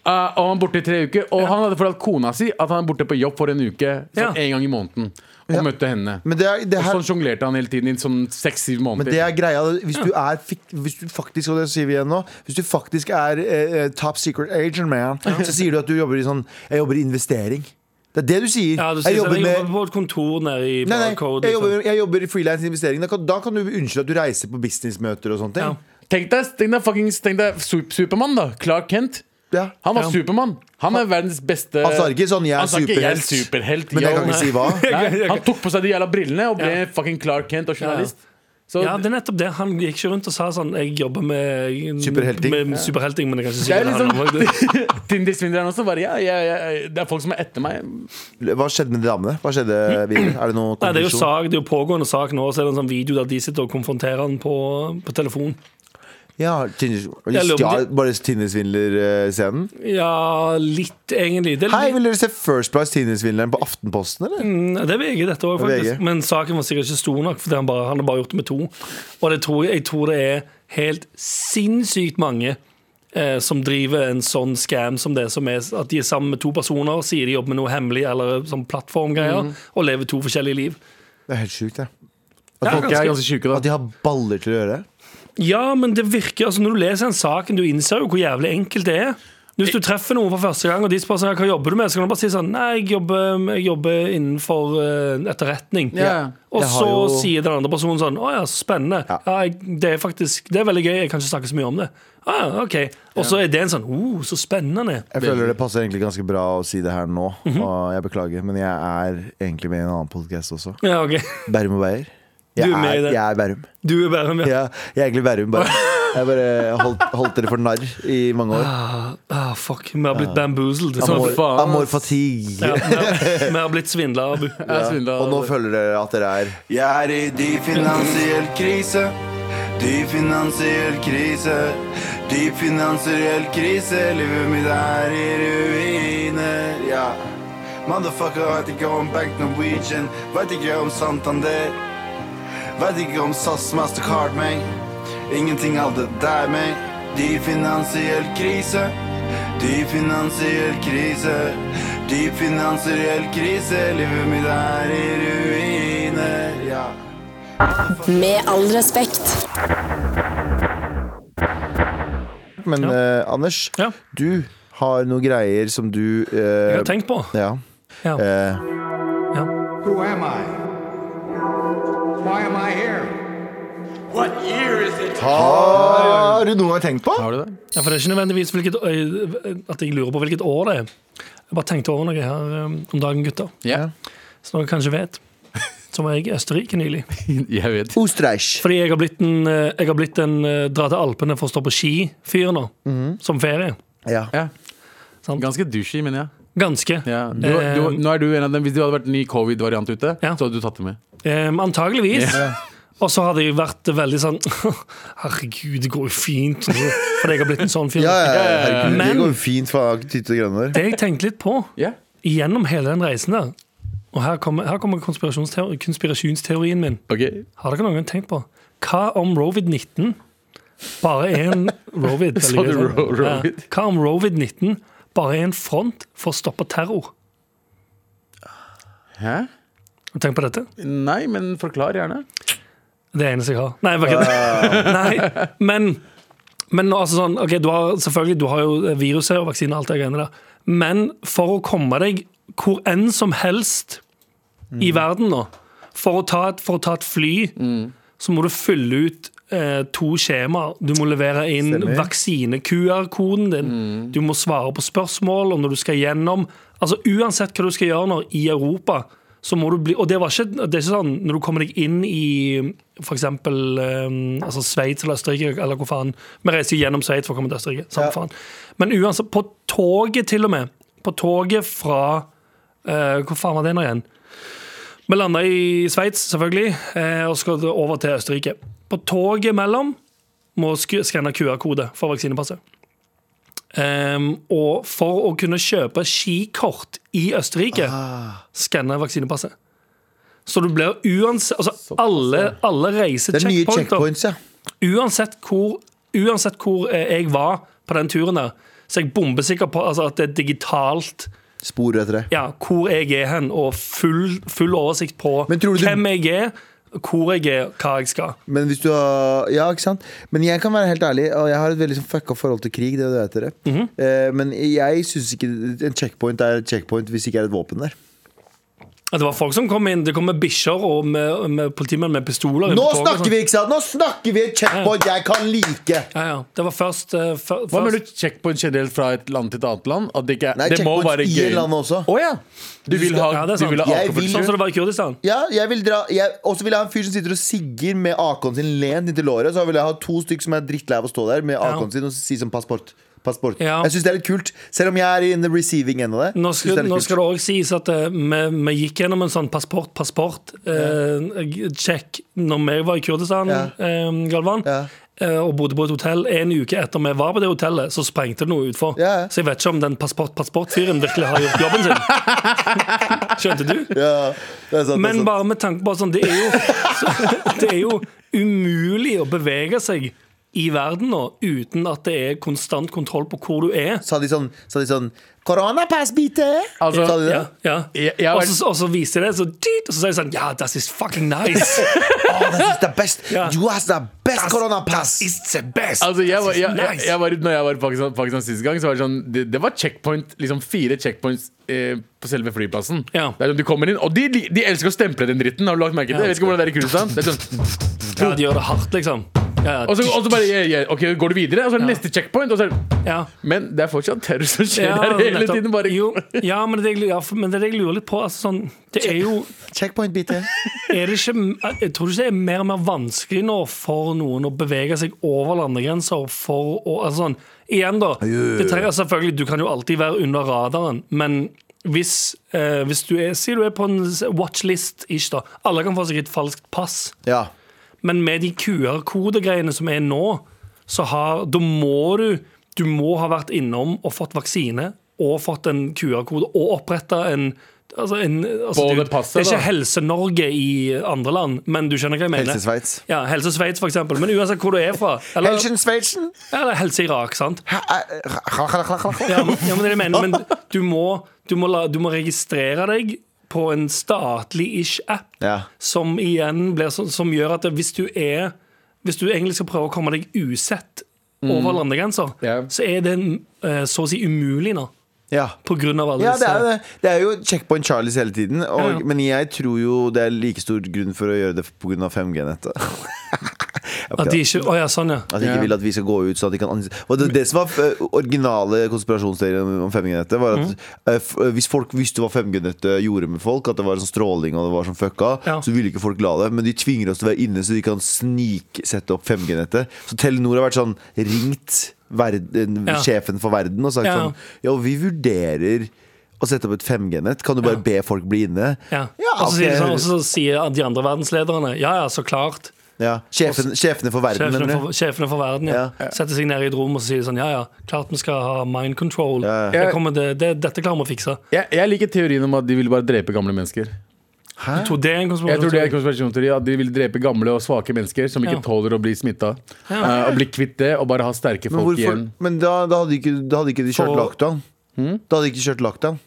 Speaker 4: Eh, og han var borte i tre uker. Og han hadde fortalt kona si at han er borte på jobb for en uke.
Speaker 3: Ja.
Speaker 4: Sånn En gang i måneden. Og møtte henne.
Speaker 2: Men det er, det
Speaker 4: Og
Speaker 2: her,
Speaker 4: sånn sjonglerte han hele tiden i sånn seks-syv
Speaker 2: Men det
Speaker 4: måneder.
Speaker 2: er greia Hvis du er fik- Hvis du faktisk Og det sier vi igjen nå Hvis du faktisk er eh, eh, top secret agent man Så sier du at du jobber i sånn Jeg jobber i investering Det er det du sier
Speaker 3: Ja, du sier
Speaker 2: Jeg
Speaker 3: sånn,
Speaker 2: jobber
Speaker 3: jeg
Speaker 2: med
Speaker 3: jobber på et kontor nede
Speaker 2: Nei,
Speaker 3: i
Speaker 2: nei,
Speaker 3: Barcode.
Speaker 2: jeg
Speaker 3: liksom.
Speaker 2: jobber, jeg jobber i freelance investering da kan, da kan du unnskylde at du reiser på businessmøter og sånne ting
Speaker 3: Ja.
Speaker 4: Tenk deg, tenk deg, fuckings- tenk deg Sup- Supermann, da. Clark Kent.
Speaker 2: Ja.
Speaker 4: Han var
Speaker 3: Ja.
Speaker 4: Supermann. Han er verdens beste
Speaker 2: Han sa ikke sånn, jeg er
Speaker 4: Han sa ikke, jeg er
Speaker 2: superhelt.
Speaker 4: superhelt.
Speaker 2: Men jeg
Speaker 4: yo.
Speaker 2: kan ikke si hva
Speaker 4: Nei, Han tok på seg de jævla brillene og ble
Speaker 3: Ja.
Speaker 4: fucking Clark Kent og journalist. Så
Speaker 3: Ja, det er nettopp det. Han gikk ikke rundt og sa sånn Jeg jobber med
Speaker 2: Superhelting.
Speaker 3: Med superhelting men jeg kan ikke si hva
Speaker 4: jeg er
Speaker 3: det handler om.
Speaker 4: liksom Tinder-svindleren også. Bare, ja, ja, ja, det er folk som er etter meg.
Speaker 2: Hva skjedde med de damene? Hva skjedde videre? Er det noe
Speaker 3: Nei, det er jo
Speaker 2: konklusjon?
Speaker 3: sak, det er jo pågående sak nå, så er det en sånn video der de sitter og konfronterer han på, på telefon.
Speaker 2: Ja, Tinder-
Speaker 3: Jeg lover-
Speaker 2: Ja, bare Tindersvindler-scenen
Speaker 3: Ja, litt, egentlig. Det,
Speaker 2: Hei,
Speaker 3: er litt,
Speaker 2: vil dere se First Price Tindersvindleren på Aftenposten, eller?
Speaker 3: Mm, det er VG dette òg,
Speaker 2: Det er
Speaker 3: faktisk.
Speaker 2: VG.
Speaker 3: Men saken var sikkert ikke stor nok, for han, bare, han har bare gjort det med to. Og det tror, jeg- jeg tror det er helt sinnssykt mange eh, som driver en sånn scam som det som er at de er sammen med to personer, sier de jobber med noe hemmelig eller sånn plattformgreier,
Speaker 2: Mm.
Speaker 3: og lever to forskjellige liv.
Speaker 2: Det er helt sjukt, det
Speaker 3: Det er
Speaker 4: Folk er
Speaker 3: ganske-
Speaker 4: ganske syke,
Speaker 2: At de
Speaker 4: da.
Speaker 2: har baller til å gjøre det?
Speaker 3: Ja, men det virker altså Når du leser den saken, du innser jo hvor jævlig enkelt det er. Hvis du treffer noen for første gang, og de spør sånn, hva jobber du med, så kan du bare si sånn Nei, jeg jobber, jeg jobber innenfor eh, etterretning.
Speaker 4: Ja.
Speaker 3: Og
Speaker 2: Jeg har
Speaker 3: så
Speaker 2: jo-
Speaker 3: sier den andre personen sånn Å ja, så spennende. Ja. jeg, det er faktisk Det er veldig gøy. Jeg kan ikke snakke så mye om det. Å ja, OK. Og så er det en sånn Å, oh, så spennende.
Speaker 2: Jeg føler det passer egentlig ganske bra å si det her nå,
Speaker 3: Mhm.
Speaker 2: og jeg beklager. Men jeg er egentlig med i en annen podkast også.
Speaker 3: Ja, OK.
Speaker 2: Bærum og Beyer. Jeg,
Speaker 3: Du er med i
Speaker 2: er-
Speaker 3: det.
Speaker 2: jeg er Bærum.
Speaker 3: Du er bare med.
Speaker 2: Jeg, jeg er egentlig Bærum, bare. Jeg bare holdt, holdt dere for narr i mange år.
Speaker 3: Ah, fuck. Vi har blitt bamboozled.
Speaker 4: Så
Speaker 2: Amor,
Speaker 4: faen, ass.
Speaker 2: amor fatigue.
Speaker 3: Ja, vi har- vi har blitt svindla, Abu.
Speaker 4: Jeg er svindlet.
Speaker 2: Og nå føler dere at dere er
Speaker 6: Jeg er i dyp finansiell krise. Dyp finansiell krise. Dyp finansiell krise. Livet mitt er i ruiner. Ja. Motherfucker veit ikke om Bank Norwegian. Veit ikke om Santander. Veit ikke om SAS Mastercard, meg. Ingenting av det der, meg. Dyp finansiell krise. Dyp finansiell krise. Dyp finansiell krise. Livet mitt er i ruiner. Ja.
Speaker 5: Med all respekt.
Speaker 2: Men eh, Anders,
Speaker 3: Ja.
Speaker 2: du har noen greier som du eh,
Speaker 3: Jeg har tenkt på.
Speaker 2: Ja.
Speaker 3: Ja.
Speaker 2: Eh,
Speaker 3: Ja.
Speaker 7: Who am I? Why am I here?
Speaker 2: har du noe jeg har tenkt på?
Speaker 4: Har du det?
Speaker 3: Ja, for Det er ikke nødvendigvis hvilket, øy- at jeg lurer på hvilket år det er. Jeg bare tenkte over noe her um, om dagen, gutter.
Speaker 4: Ja.
Speaker 3: Som dere kanskje vet. Så var jeg i Østerrike nylig.
Speaker 4: Jeg vet.
Speaker 2: Ostreich.
Speaker 3: Fordi jeg har blitt en, eh, jeg har blitt en eh, dra til Alpene for å stå på ski-fyr nå.
Speaker 4: Mhm.
Speaker 3: Som ferie.
Speaker 2: Ja.
Speaker 4: Ja.
Speaker 3: Sant.
Speaker 4: Ganske douchey, mener jeg.
Speaker 3: Ganske.
Speaker 4: Ja. Du, du, nå er du en av dem. Hvis det hadde vært en ny covid-variant ute,
Speaker 3: Ja.
Speaker 4: så hadde du tatt det med.
Speaker 3: Ehm, antageligvis. Og så hadde jeg vært veldig sånn Herregud, det går jo fint. nå», Fordi jeg har blitt en sånn fyr.
Speaker 2: Ja, ja, herregud,
Speaker 3: Men-
Speaker 2: det går jo fint for Tytte og Grønner.
Speaker 3: Det jeg tenkte litt på
Speaker 4: Ja.
Speaker 3: gjennom hele den reisen der Og her kommer, her kommer konspirasjonsteori- konspirasjonsteorien min.
Speaker 4: Ok.
Speaker 3: Har dere noen gang tenkt på Hva om Rovid-19 Bare er en Rovid
Speaker 4: Sa du
Speaker 3: veldig gøy,
Speaker 4: ro-
Speaker 3: sånn. Ja.
Speaker 4: Rovid?
Speaker 3: Hva om Rovid-19 Bare er en front for å stoppe terror
Speaker 4: Hæ?
Speaker 3: Tenk på dette
Speaker 4: Nei, men forklar gjerne.
Speaker 3: Det er det eneste jeg har Nei, bare kødder. Nei men, men altså sånn Ok, du har selvfølgelig Du har jo viruset og vaksiner og alt det greiene der Men for å komme deg Hvor enn som helst I
Speaker 4: Mm.
Speaker 3: verden nå For å ta et, for å ta et fly Så må du fylle ut eh, to skjemaer Du må levere inn
Speaker 2: Stemmer.
Speaker 3: vaksine-QR-koden din Du må svare på spørsmål Og når du skal gjennom Altså uansett hva du skal gjøre nå i Europa så må du bli, og det, var ikke, det er ikke sånn Når du kommer deg inn i For eksempel eh, altså Sveits eller Østerrike Eller hvor faen Vi reiser gjennom Sveits for å komme til Østerrike samme faen. Men uansett, på toget til og med På toget fra eh, Hvor faen var det nå igjen? Vi landa i Sveits, selvfølgelig, eh, og skal over til Østerrike. På toget mellom må sk- skanne QR-kode for vaksinepasset. Ehm, og for å kunne kjøpe skikort i Østerrike,
Speaker 2: Ah.
Speaker 3: skanne vaksinepasset. Så du blir uansett Altså, alle, alle
Speaker 2: Det er nye
Speaker 3: reisecheckpointer
Speaker 2: checkpoints, ja.
Speaker 3: uansett hvor, uansett hvor eh, jeg var på den turen der, så er jeg bombesikker på altså, at det er digitalt
Speaker 2: Spor etter det.
Speaker 3: ja, hvor jeg er hen, og full, full oversikt på
Speaker 2: Men tror du du-
Speaker 3: hvem jeg er, hvor jeg er, hva jeg skal.
Speaker 2: Men hvis du har Ja, ikke sant? Men jeg kan være helt ærlig, og jeg har et veldig sånn fucka forhold til krig. Det vet dere.
Speaker 3: Mhm.
Speaker 2: Eh, Men jeg syns ikke en checkpoint er et checkpoint hvis det ikke er et våpen der.
Speaker 3: At Det var folk som kom inn, det kom med bikkjer og med, med politimenn med pistoler. inn
Speaker 2: Nå
Speaker 3: på toget og
Speaker 2: snakker
Speaker 3: sånn.
Speaker 2: vi, ikke sant? Nå snakker vi et checkpoint jeg kan like!
Speaker 3: Ja, ja. Det var først, eh, før-
Speaker 4: Hva mener
Speaker 3: først
Speaker 4: du checkpoint generelt fra et land til et annet land? At det ikke er,
Speaker 2: Nei,
Speaker 4: det må
Speaker 2: checkpoints
Speaker 4: være
Speaker 2: i
Speaker 4: gøy.
Speaker 2: landet også.
Speaker 4: Å ja. Du vil ha,
Speaker 3: Ja, det er
Speaker 4: du
Speaker 3: sant.
Speaker 4: vil ha
Speaker 2: Jeg
Speaker 4: alkohol.
Speaker 2: vil-
Speaker 3: Sånn som det var i Kurdistan.
Speaker 2: Ja, jeg vil dra jeg, Og så vil jeg ha en fyr som sitter og sigger med AK-en sin lent inntil låret. Så vil jeg ha to stykker som er drittlei av å stå der med AK-en sin og si som passport. passport.
Speaker 3: Ja.
Speaker 2: Jeg syns det er litt kult, selv om jeg er in the receiving end av det.
Speaker 3: Nå
Speaker 2: Synes
Speaker 3: skal,
Speaker 2: det er litt
Speaker 3: nå
Speaker 2: kult.
Speaker 3: skal det òg sies at eh, vi, vi gikk gjennom en sånn passport, passport, eh, check når vi var i Kurdistan,
Speaker 2: Ja.
Speaker 3: eh, Galvan.
Speaker 2: Ja.
Speaker 3: eh, Og bodde på et hotell En uke etter vi var på det hotellet, så sprengte det noe utfor.
Speaker 2: Ja, ja.
Speaker 3: Så jeg vet ikke om den passport-passport-fyren virkelig har gjort jobben sin. Skjønte du?
Speaker 2: Ja, det er sant, det er
Speaker 3: Men
Speaker 2: sant.
Speaker 3: bare med tanke på sånn, det er jo, det er jo umulig å bevege seg i verden nå, uten at det er konstant kontroll på hvor du er.
Speaker 2: Sa de sånn, sa de sånn Koronapassbite!
Speaker 4: Altså-
Speaker 2: sa de det?
Speaker 3: Ja, ja.
Speaker 4: Jeg- jeg har
Speaker 3: Og, så, og så viser det, så, dit, og så sier de sånn Ja, das is fucking nice!
Speaker 2: Å, this is the best!
Speaker 3: Ja.
Speaker 2: You has the best
Speaker 3: Das
Speaker 2: koronapass!
Speaker 3: is the best!
Speaker 4: Altså, jeg var,
Speaker 3: This is
Speaker 4: jeg, jeg,
Speaker 3: nice.
Speaker 4: jeg var, når jeg var i Pakistan, Pakistan sist gang, så var det sånn Det, det var checkpoint, liksom fire checkpoints eh, på selve flyplassen.
Speaker 3: Ja.
Speaker 4: Det er sånn, du kommer inn, Og de, de elsker å stemple den dritten. Har du lagt merke til det? Jeg vet ikke hvordan det er i Kurdistan. Det er sånn,
Speaker 3: ja, de gjør det hardt, liksom. Ja,
Speaker 4: og, så, og så bare yeah, yeah, Ok, går du videre, og så er det
Speaker 3: Ja.
Speaker 4: neste checkpoint. Og så er det,
Speaker 3: ja.
Speaker 4: men det er fortsatt terror som skjer
Speaker 3: Ja,
Speaker 4: der hele
Speaker 3: nettopp.
Speaker 4: tiden. Bare,
Speaker 3: jo, ja, men det, er det jeg- ja, for- men det er det jeg lurer litt på. Altså, sånn, det er jo
Speaker 2: Checkpoint-bite.
Speaker 3: er det ikke, Jeg tror ikke det er mer og mer vanskelig nå for noen å bevege seg over landegrenser for å altså sånn, Igjen, da. Det trenger, altså selvfølgelig, du kan jo alltid være under radaren, men hvis, eh, hvis du er Si du er på en watchlist, ish, da. Alle kan få seg et falskt pass.
Speaker 2: Ja.
Speaker 3: Men med de QR-kodegreiene som er nå, så har, da må du Du må ha vært innom og fått vaksine og fått en QR-kode og oppretta en Altså en, altså
Speaker 4: Både
Speaker 3: du-
Speaker 4: passet,
Speaker 3: det er
Speaker 4: da.
Speaker 3: ikke Helse-Norge i andre land, men du skjønner hva jeg mener.
Speaker 2: Helse-Sveits.
Speaker 3: Ja, Helse Sveits, for eksempel. Men uansett hvor du er fra. Eller,
Speaker 2: Helsen-Sveitsen!
Speaker 3: eller Helse Irak, sant. Ja, men, ja, men, det er det jeg mener, men du, må, du, må la, du må registrere deg på en statlig-ish app
Speaker 2: Ja.
Speaker 3: som igjen blir sånn Som gjør at hvis du er Hvis du egentlig skal prøve å komme deg usett
Speaker 2: Mm.
Speaker 3: over landegrenser,
Speaker 4: Ja.
Speaker 3: så er det eh, så å si umulig nå.
Speaker 2: Ja.
Speaker 3: På grunn av alle
Speaker 2: Ja, det
Speaker 3: disse
Speaker 2: er, jo det. det er jo checkpoint Charlies hele tiden. Og,
Speaker 3: Ja, ja.
Speaker 2: Men jeg tror jo det er like stor grunn for å gjøre det pga. 5G-nettet.
Speaker 3: At de ikke Å ja, sånn, ja.
Speaker 2: At de ikke
Speaker 4: Ja.
Speaker 2: vil at vi skal gå ut sånn at de kan anse- Og det, det som var eh, originale konspirasjonsserien om 5G-nettet, var
Speaker 3: Mm.
Speaker 2: at eh, f- eh, hvis folk visste hva 5G-nettet gjorde med folk, at det var sånn stråling og det var sånn fucka,
Speaker 3: Ja.
Speaker 2: så ville ikke folk la det. Men de tvinger oss til å være inne, så de kan sniksette opp 5G-nettet. Så Telenor har vært sånn ringt verden,
Speaker 3: Ja.
Speaker 2: sjefen for verden og sagt
Speaker 3: Ja.
Speaker 2: sånn Ja, vi vurderer å sette opp et 5G-nett. Kan du bare be folk bli inne?
Speaker 3: ja.
Speaker 2: Ja,
Speaker 3: og, så sier de sånn,
Speaker 2: ok.
Speaker 3: og så sier de andre verdenslederne ja ja, så klart.
Speaker 2: Ja. Sjefen, sjefene for verden,
Speaker 3: Sjefene
Speaker 2: mener du?
Speaker 3: for, sjefene for verden ja. setter seg ned i et rom og så sier de sånn ja ja, klart vi skal ha mind control.
Speaker 2: Ja, ja.
Speaker 3: Det kommer det, det, dette klarer vi å fikse.
Speaker 4: jeg, jeg liker teorien om at de vil bare drepe gamle mennesker.
Speaker 2: Hæ?
Speaker 3: Jeg tror det er en
Speaker 4: Jeg tror det er
Speaker 3: konspirasjon.
Speaker 4: en konspirasjonsteori At de vil drepe gamle og svake mennesker som ikke
Speaker 3: Ja.
Speaker 4: tåler å bli smitta. Eh, og bli kvitt det, og bare ha sterke
Speaker 2: Men,
Speaker 4: folk
Speaker 2: hvorfor,
Speaker 4: igjen.
Speaker 2: men da, da, hadde ikke, da hadde ikke de kjørt
Speaker 3: For-
Speaker 2: lockdown.
Speaker 3: Hmm?
Speaker 2: Da hadde de ikke kjørt lockdown.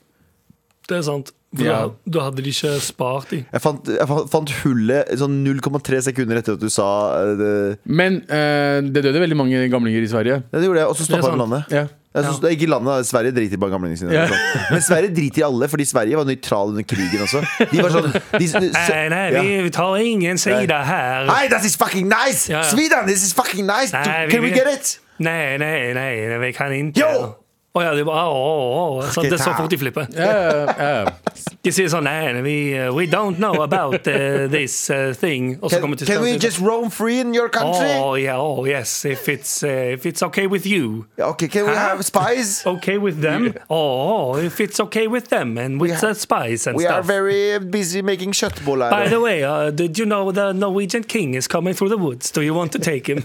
Speaker 3: Det er sant. For
Speaker 4: Ja.
Speaker 3: da, da hadde de ikke spart de.
Speaker 2: Jeg fant, jeg fa- fant hullet sånn 0,3 sekunder etter at du sa eh, det.
Speaker 4: Men eh, det døde veldig mange gamlinger i Sverige.
Speaker 2: Ja, det gjorde jeg, og så
Speaker 3: Det er
Speaker 2: stoppa
Speaker 3: sant.
Speaker 2: landet.
Speaker 4: Ja.
Speaker 2: Jeg synes, Ikke landet, da. Sverige driter bare i gamlingene sine.
Speaker 4: Ja.
Speaker 2: sånn. Men Sverige driter i alle, fordi Sverige var nøytral under krigen også. De var sånn de,
Speaker 3: Nei, nei,
Speaker 2: ja.
Speaker 3: vi, vi tar ingen side her.
Speaker 2: Hey, this is fucking nice!
Speaker 3: Ja, ja.
Speaker 2: Sweden, this is fucking nice!
Speaker 3: Nei, vi-
Speaker 2: Can we
Speaker 3: vi-
Speaker 2: get it?
Speaker 3: Nei, nei, nei, nei, vi kan ikke
Speaker 2: Jo!
Speaker 3: Å ja, det er bare å, å, å. Så Det er så fort de flipper.
Speaker 4: Ja, ja, ja.
Speaker 3: De sier sånn Nei, nei, vi, uh, we don't know about uh, this uh, thing. Og så
Speaker 2: Can,
Speaker 3: kommer til
Speaker 2: can we
Speaker 3: stedet.
Speaker 2: just roam free in your country?
Speaker 3: Oh, yeah, oh, yes, if it's, uh, if it's okay with you.
Speaker 2: Yeah, Okay, can we have spies?
Speaker 3: Okay with them? Oh, if it's okay with them and with the spies and
Speaker 2: We are
Speaker 3: stuff.
Speaker 2: very busy making kjøttboller.
Speaker 3: By the way, uh, did you know the Norwegian king is coming through the woods? Do you want to take him?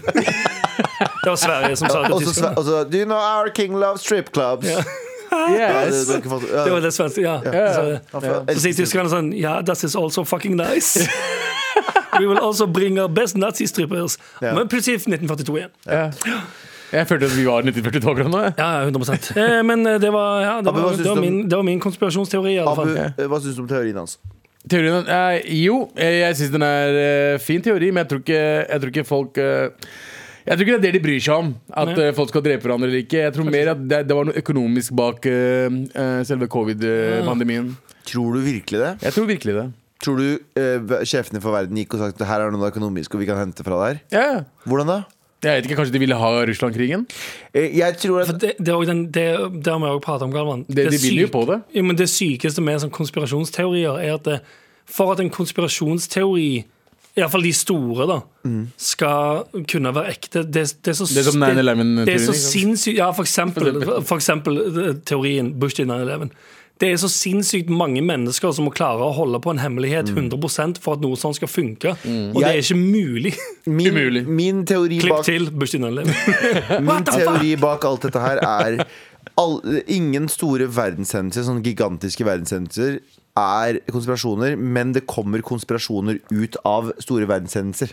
Speaker 3: det var Sverige som sa det.
Speaker 2: Og så
Speaker 3: til
Speaker 2: sa-
Speaker 3: Tyskland.
Speaker 2: og så Do you know our king loves strip clubs?
Speaker 4: Yes.
Speaker 2: Det- det- det- ja.
Speaker 3: Det var det svenske, ja. Så-
Speaker 2: Ja.
Speaker 3: Så sier tyskerne sånn Ja, that is also fucking nice. We will also bring our best nazi-strippers.
Speaker 2: Ja.
Speaker 3: Men plutselig 1942 igjen.
Speaker 4: Jeg følte at vi var 1942 akkurat nå. jeg.
Speaker 3: Ja, ja, 100 eh, Men eh, det var, ja, det
Speaker 2: Abu,
Speaker 3: var,
Speaker 2: hva syns
Speaker 3: det var,
Speaker 2: du om-
Speaker 3: min, det var min konspirasjonsteori, i alle
Speaker 2: Abu,
Speaker 3: fall.
Speaker 2: eh, hva syns du om teorien hans?
Speaker 4: Teorien, eh, jo, eh, jeg syns den er eh, fin teori, men jeg tror ikke, jeg tror ikke folk eh, jeg tror ikke det er det de bryr seg om, at
Speaker 3: Nei.
Speaker 4: eh, folk skal drepe hverandre eller ikke. Jeg tror mer at det, det var noe økonomisk bak eh, eh, selve covid-pandemien.
Speaker 2: Tror du virkelig det?
Speaker 4: Jeg tror virkelig det.
Speaker 2: Tror du eh, sjefene for verden gikk og sagt her er noe økonomisk og vi kan hente fra der?
Speaker 4: Ja, ja.
Speaker 2: Hvordan da?
Speaker 4: Jeg vet ikke, Kanskje de ville ha Russland-krigen?
Speaker 2: Eh, Jeg tror
Speaker 3: For
Speaker 2: at
Speaker 3: det, det, er også den, det, det har vi også pratet om, Galvan.
Speaker 4: Det- de vil jo
Speaker 3: syk-
Speaker 4: på det.
Speaker 3: Ja, men det sykeste med sånn konspirasjonsteorier er at det, for at en konspirasjonsteori, iallfall de store, da,
Speaker 2: Mm.
Speaker 3: skal kunne være ekte Det, det er så,
Speaker 4: Det er som 9/11-teorien,
Speaker 3: det er så
Speaker 4: ikke sant?
Speaker 3: sinnssykt Ja, for eksempel, for eksempel eh, teorien Bush til 9-11. Det er så sinnssykt mange mennesker som må klare å holde på en hemmelighet
Speaker 4: Mm.
Speaker 3: 100 for at noe sånt skal funke. Og det er ikke mulig.
Speaker 2: min,
Speaker 4: Umulig.
Speaker 2: min teori
Speaker 3: Klipp
Speaker 2: bak
Speaker 3: til Bush til 9-11.
Speaker 2: Min teori bak alt dette her er all, Ingen store verdenshendelser, sånne gigantiske verdenshendelser, er Mhm. konspirasjoner, men det kommer konspirasjoner ut av store verdenshendelser.